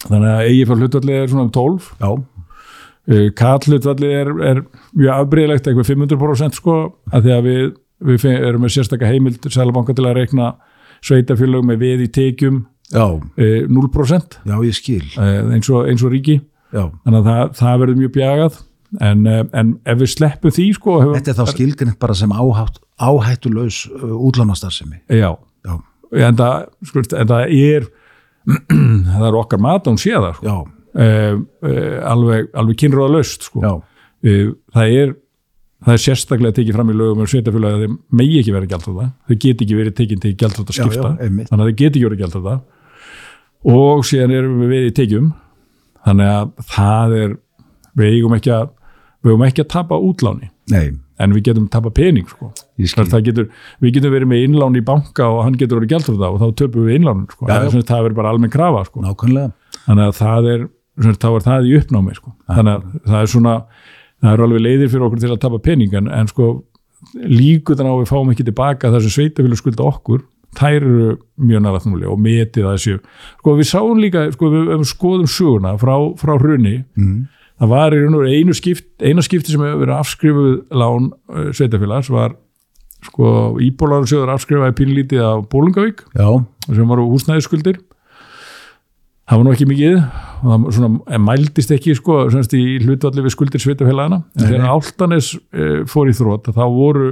[SPEAKER 2] þannig að EIF hlutallið er svona um 12
[SPEAKER 1] já,
[SPEAKER 2] uh, kall hlutallið er, er mjög afbreyðlegt eitthvað 500% sko, að því að við, við fe- erum með sérstaka heimild sælabanka til að reikna sveitafélög með veð í tekjum
[SPEAKER 1] já,
[SPEAKER 2] uh, 0%
[SPEAKER 1] já, ég skil,
[SPEAKER 2] uh, eins, og, eins og ríki
[SPEAKER 1] já.
[SPEAKER 2] þannig að það, það verður mjög bjagað en, eh, en ef við sleppum því sko, hefur,
[SPEAKER 1] Þetta er þá skilgrind bara sem áhætt, áhættulaus uh, útlánastarsemi.
[SPEAKER 2] já,
[SPEAKER 1] Já,
[SPEAKER 2] en það, skur, en það sko, er það er okkar mat að hún sé það sko.
[SPEAKER 1] já,
[SPEAKER 2] e, e, alveg, alveg kynrúða löst sko.
[SPEAKER 1] já,
[SPEAKER 2] e, það er það er sérstaklega tekið fram í lögum um sveitafélag að þeir megi ekki verið gjaldröða þau geti ekki verið tekin til gjaldröða
[SPEAKER 1] Já,
[SPEAKER 2] skipta
[SPEAKER 1] já, einmitt.
[SPEAKER 2] þannig að þau geti ekki verið gjaldröða og síðan erum við við í tekjum þannig að það er við eigum ekki að við eigum ekki að tapa útláni
[SPEAKER 1] nei,
[SPEAKER 2] en við getum tapa pening sko.
[SPEAKER 1] Ég skil.
[SPEAKER 2] Þar- það getur, við getum verið með innlán í banka og hann getur verið gæltur það og þá töpum við innlánum sko.
[SPEAKER 1] Já, já.
[SPEAKER 2] En sem sagt, það verður bara almenn krafa sko.
[SPEAKER 1] nákvæmlega.
[SPEAKER 2] þannig að það er, sem sagt, þá er það í uppnámi sko. þannig að það er svona það eru alveg leiðir fyrir okkur til að tapa pening en, en sko líku þannig að við fáum ekki tilbaka það sem sveitafélag skulda okkur þær eru mjög næra þnúli og metið að þessu sko við sáum líka, sko við, við skoðum söguna frá, frá hrunni
[SPEAKER 1] Mm.
[SPEAKER 2] það var í raun og veru einu skipt, eina skipti sem hefur verið afskrifuð lán uh, sveitafélags var sko íbúlarnsjóður afskrifaði pínlítið af Bólungavík
[SPEAKER 1] Já,
[SPEAKER 2] sem var húsnæðiskuldir það var nú ekki mikið og það svona, eh, mældist ekki sko, semst, í hlutvalli við skuldir sveitafélagana en þegar Áltanes e, fór í þrótt þá voru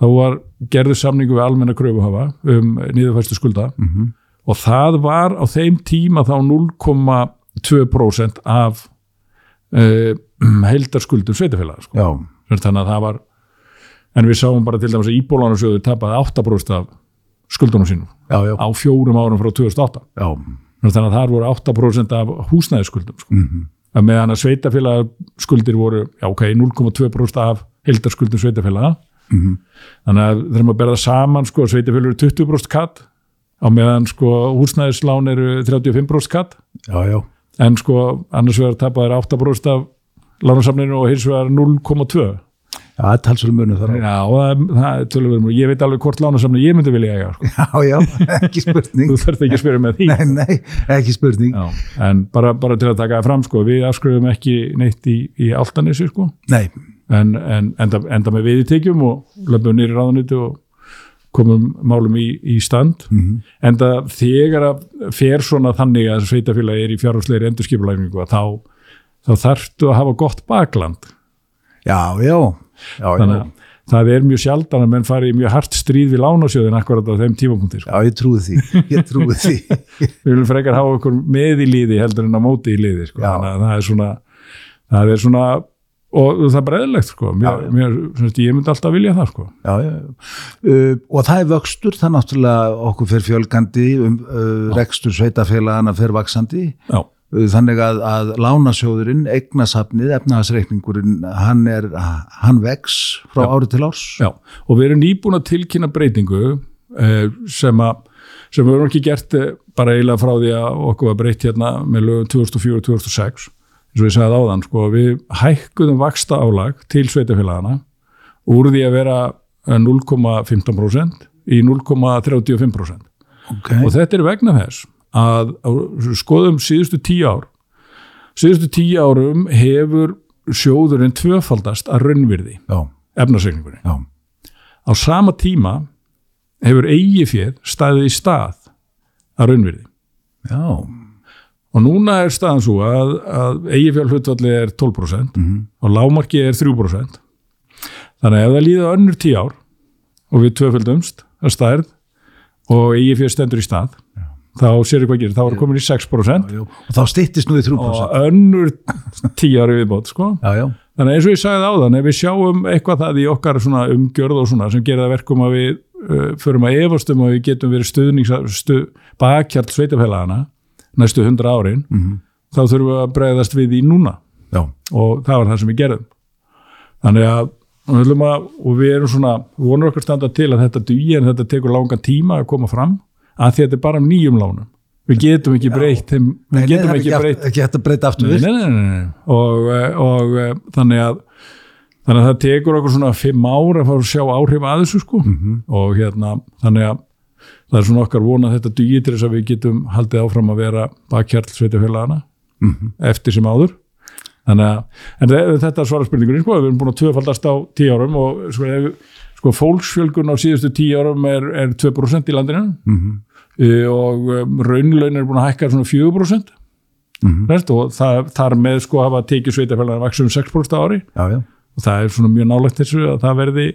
[SPEAKER 2] þá var gerðu samningu við almenna kröfuhafa um niðurfæstu skulda -hmm. og það var á þeim tíma þá 0,2% af e, heldarskuldum sveitafélaga sko.
[SPEAKER 1] já,
[SPEAKER 2] Sem sagt, þannig að það var en við sáum bara til dæmis að íbólánarsjóður tapaði 8% af skuldunum sínum
[SPEAKER 1] já, já,
[SPEAKER 2] á fjórum árum frá 2008
[SPEAKER 1] já,
[SPEAKER 2] þannig að þar voru 8% af húsnæðiskuldum sko. mm
[SPEAKER 1] Mhm.
[SPEAKER 2] -hmm. meðan að sveitafélagaskuldir voru já, ok, 0,2% af heildarskuldum sveitafélaga
[SPEAKER 1] Mhm.
[SPEAKER 2] þannig að þegar maður berða saman sko, sveitafélag eru 20% katt á meðan sko, húsnæðislán eru 35% katt
[SPEAKER 1] já, já,
[SPEAKER 2] en sko, annars vegar tapaður 8% af lánasamninu og hins vegar 0,2
[SPEAKER 1] já, það er talsvölu munum þar á.
[SPEAKER 2] já, og það, það er töluverðum ég veit alveg hvort lánasamni ég myndi vilja eiga sko.
[SPEAKER 1] Já, já, ekki spurning.
[SPEAKER 2] þú þarf ekki að spyrja með því
[SPEAKER 1] nei, nei, ekki spurning.
[SPEAKER 2] Já, en bara, bara til að taka það fram sko, við afskrifum ekki neitt í, í áltanissi sko.
[SPEAKER 1] Nei,
[SPEAKER 2] en, en enda, enda með veiðitekjum og löpum nýri ráðuniti og komum málum í, í stand enda þegar að fer svona þannig að sveitafélag er í fjárhúsleiri endurskipulæfingu að þá, þá þarftu að hafa gott bakland
[SPEAKER 1] já, já, já, já.
[SPEAKER 2] þannig að það er mjög sjaldan að menn fari í mjög hart stríð við lánasjóðin akkurat á þeim tímapunkti sko.
[SPEAKER 1] já, ég trúi því ég trúi því,
[SPEAKER 2] við viljum frekar hafa okkur með í liði heldur en á móti í liði sko.
[SPEAKER 1] Já.
[SPEAKER 2] þannig að það er svona það er svona og það er bara eðlilegt sko. mér,
[SPEAKER 1] Já, já.
[SPEAKER 2] mér, svona, ég myndi alltaf vilja það sko.
[SPEAKER 1] já, já, já. Uh, og það er vöxtur, það er náttúrulega okkur fer fjölgandi um, uh, rekstur sveitafélagana fer vaksandi
[SPEAKER 2] já,
[SPEAKER 1] Uh, þannig að, að lánasjóðurinn eignasafnið, efnahagsreikningurinn hann er, hann vex frá ári til árs
[SPEAKER 2] já. og við erum nýbúin að tilkynna breytingu eh, sem að sem við erum ekki gert eh, bara eiginlega frá því að okkur var breytt hérna með lögum 2004-2006 eins og ég sagði áðan, sko, við hækkuðum vaksta álag til sveitafélagana úr því að vera eh, 0,15% í 0,35%
[SPEAKER 1] okay.
[SPEAKER 2] og þetta er vegna þess að að skoðum síðustu tíu ár síðustu tíu árum hefur sjóðurinn tvöfaldast að raunvirði
[SPEAKER 1] já,
[SPEAKER 2] efnarsreikningurinn.
[SPEAKER 1] já,
[SPEAKER 2] Á sama tíma hefur eigifér staðið í stað að raunvirði
[SPEAKER 1] já
[SPEAKER 2] og núna er staðan svo að, að eigifjár hlutvalli er 12% og lágmarki er 3% þannig að ef það líða önnur 10 ár og við tvöföldumst að stærð og eigifjár stendur í stað þá sér hvað gerir, þá er komin í 6%
[SPEAKER 1] já. og þá styttist nú í 3%
[SPEAKER 2] og önnur 10 ári viðbót sko.
[SPEAKER 1] já, já,
[SPEAKER 2] þannig að eins og ég sagði áðan ef við sjáum eitthvað það í okkar svona umgjörð og svona sem gerir það verkum að við uh, förum að efast um að við getum verið stuðnings stu, bakhjart sveitafélagana næstu 100 árin
[SPEAKER 1] Mhm.
[SPEAKER 2] þá þurfum við að bregðast við í núna
[SPEAKER 1] já,
[SPEAKER 2] og það var það sem við gerðum þannig að við ætlum að, og við erum svona, við vonum okkur standa til að þetta dugi en þetta tekur langan tíma að koma fram að því að þetta er bara um nýjum lánum við getum ekki breytt þeim,
[SPEAKER 1] Nei,
[SPEAKER 2] við
[SPEAKER 1] nei,
[SPEAKER 2] getum
[SPEAKER 1] það er
[SPEAKER 2] ekki
[SPEAKER 1] haft-
[SPEAKER 2] breytt
[SPEAKER 1] ekki hægt að breyta aftur
[SPEAKER 2] Nei, nei, nei, nei, nei. Og, eh, og eh, þannig að þannig að það tekur okkur svona fimm ár að fara að sjá áhrif að þessu sko og hérna, þannig að það er svona okkar vona að þetta dugi til þess að við getum haldið áfram að vera bakkjarl sveitafélagana eftir sem áður þannig að, en þe- þetta er svara spurningunni sko, við erum búin að tvöfaldast á tíu árum og sko, ef, sko fólksfjölgun á síðustu tíu árum er, er 2% í landinu Eh, og um, raunlaun er búin að hækka svona 4%
[SPEAKER 1] Mhm.
[SPEAKER 2] Veist, og það, þar með sko hafa tekið sveitafélagin vaksum 6% á ári
[SPEAKER 1] já, já,
[SPEAKER 2] og það er svona mjög nálægt þessu að það verði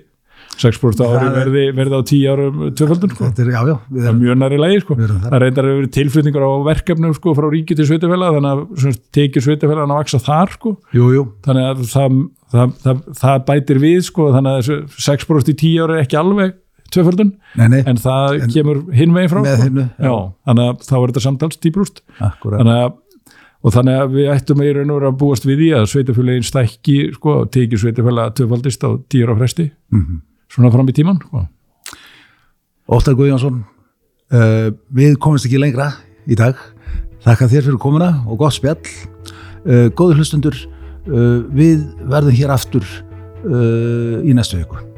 [SPEAKER 2] 6% á
[SPEAKER 1] Það
[SPEAKER 2] ári
[SPEAKER 1] er-
[SPEAKER 2] verði, verði á 10 árum tvöföldun sko.
[SPEAKER 1] þetta er, já, já við
[SPEAKER 2] það er
[SPEAKER 1] erum,
[SPEAKER 2] mjög næri lægi sko.
[SPEAKER 1] Við erum þar.
[SPEAKER 2] það reyndar hefur verið tilflutningur á verkefnum sko, frá ríki til sveitafélag þannig að sem sagt, tekið sveitafélagin að vaksa þar sko.
[SPEAKER 1] jú, jú,
[SPEAKER 2] þannig að það, það, það, það bætir við sko, þannig að þessu 6% í 10 ári er ekki alveg tvöföldun
[SPEAKER 1] nei, nei,
[SPEAKER 2] en það kemur hinn veginn frá
[SPEAKER 1] með
[SPEAKER 2] sko.
[SPEAKER 1] hinnu, já.
[SPEAKER 2] já, þannig að þá er þetta samtals 10%
[SPEAKER 1] akkurat
[SPEAKER 2] þannig að og þannig að við ættum í raun og veru að búast við því að sveitafélagin stækki sko, og tekið sveitafélag töfaldist á dýra fresti
[SPEAKER 1] Mhm.
[SPEAKER 2] svona fram í tíman sko.
[SPEAKER 1] Óttar Guðjónsson uh, við komumst ekki lengra í dag þakka þér fyrir komuna og gott spjall Eh, uh, góður hlustundur uh, við verðum hér aftur uh, í næstu viku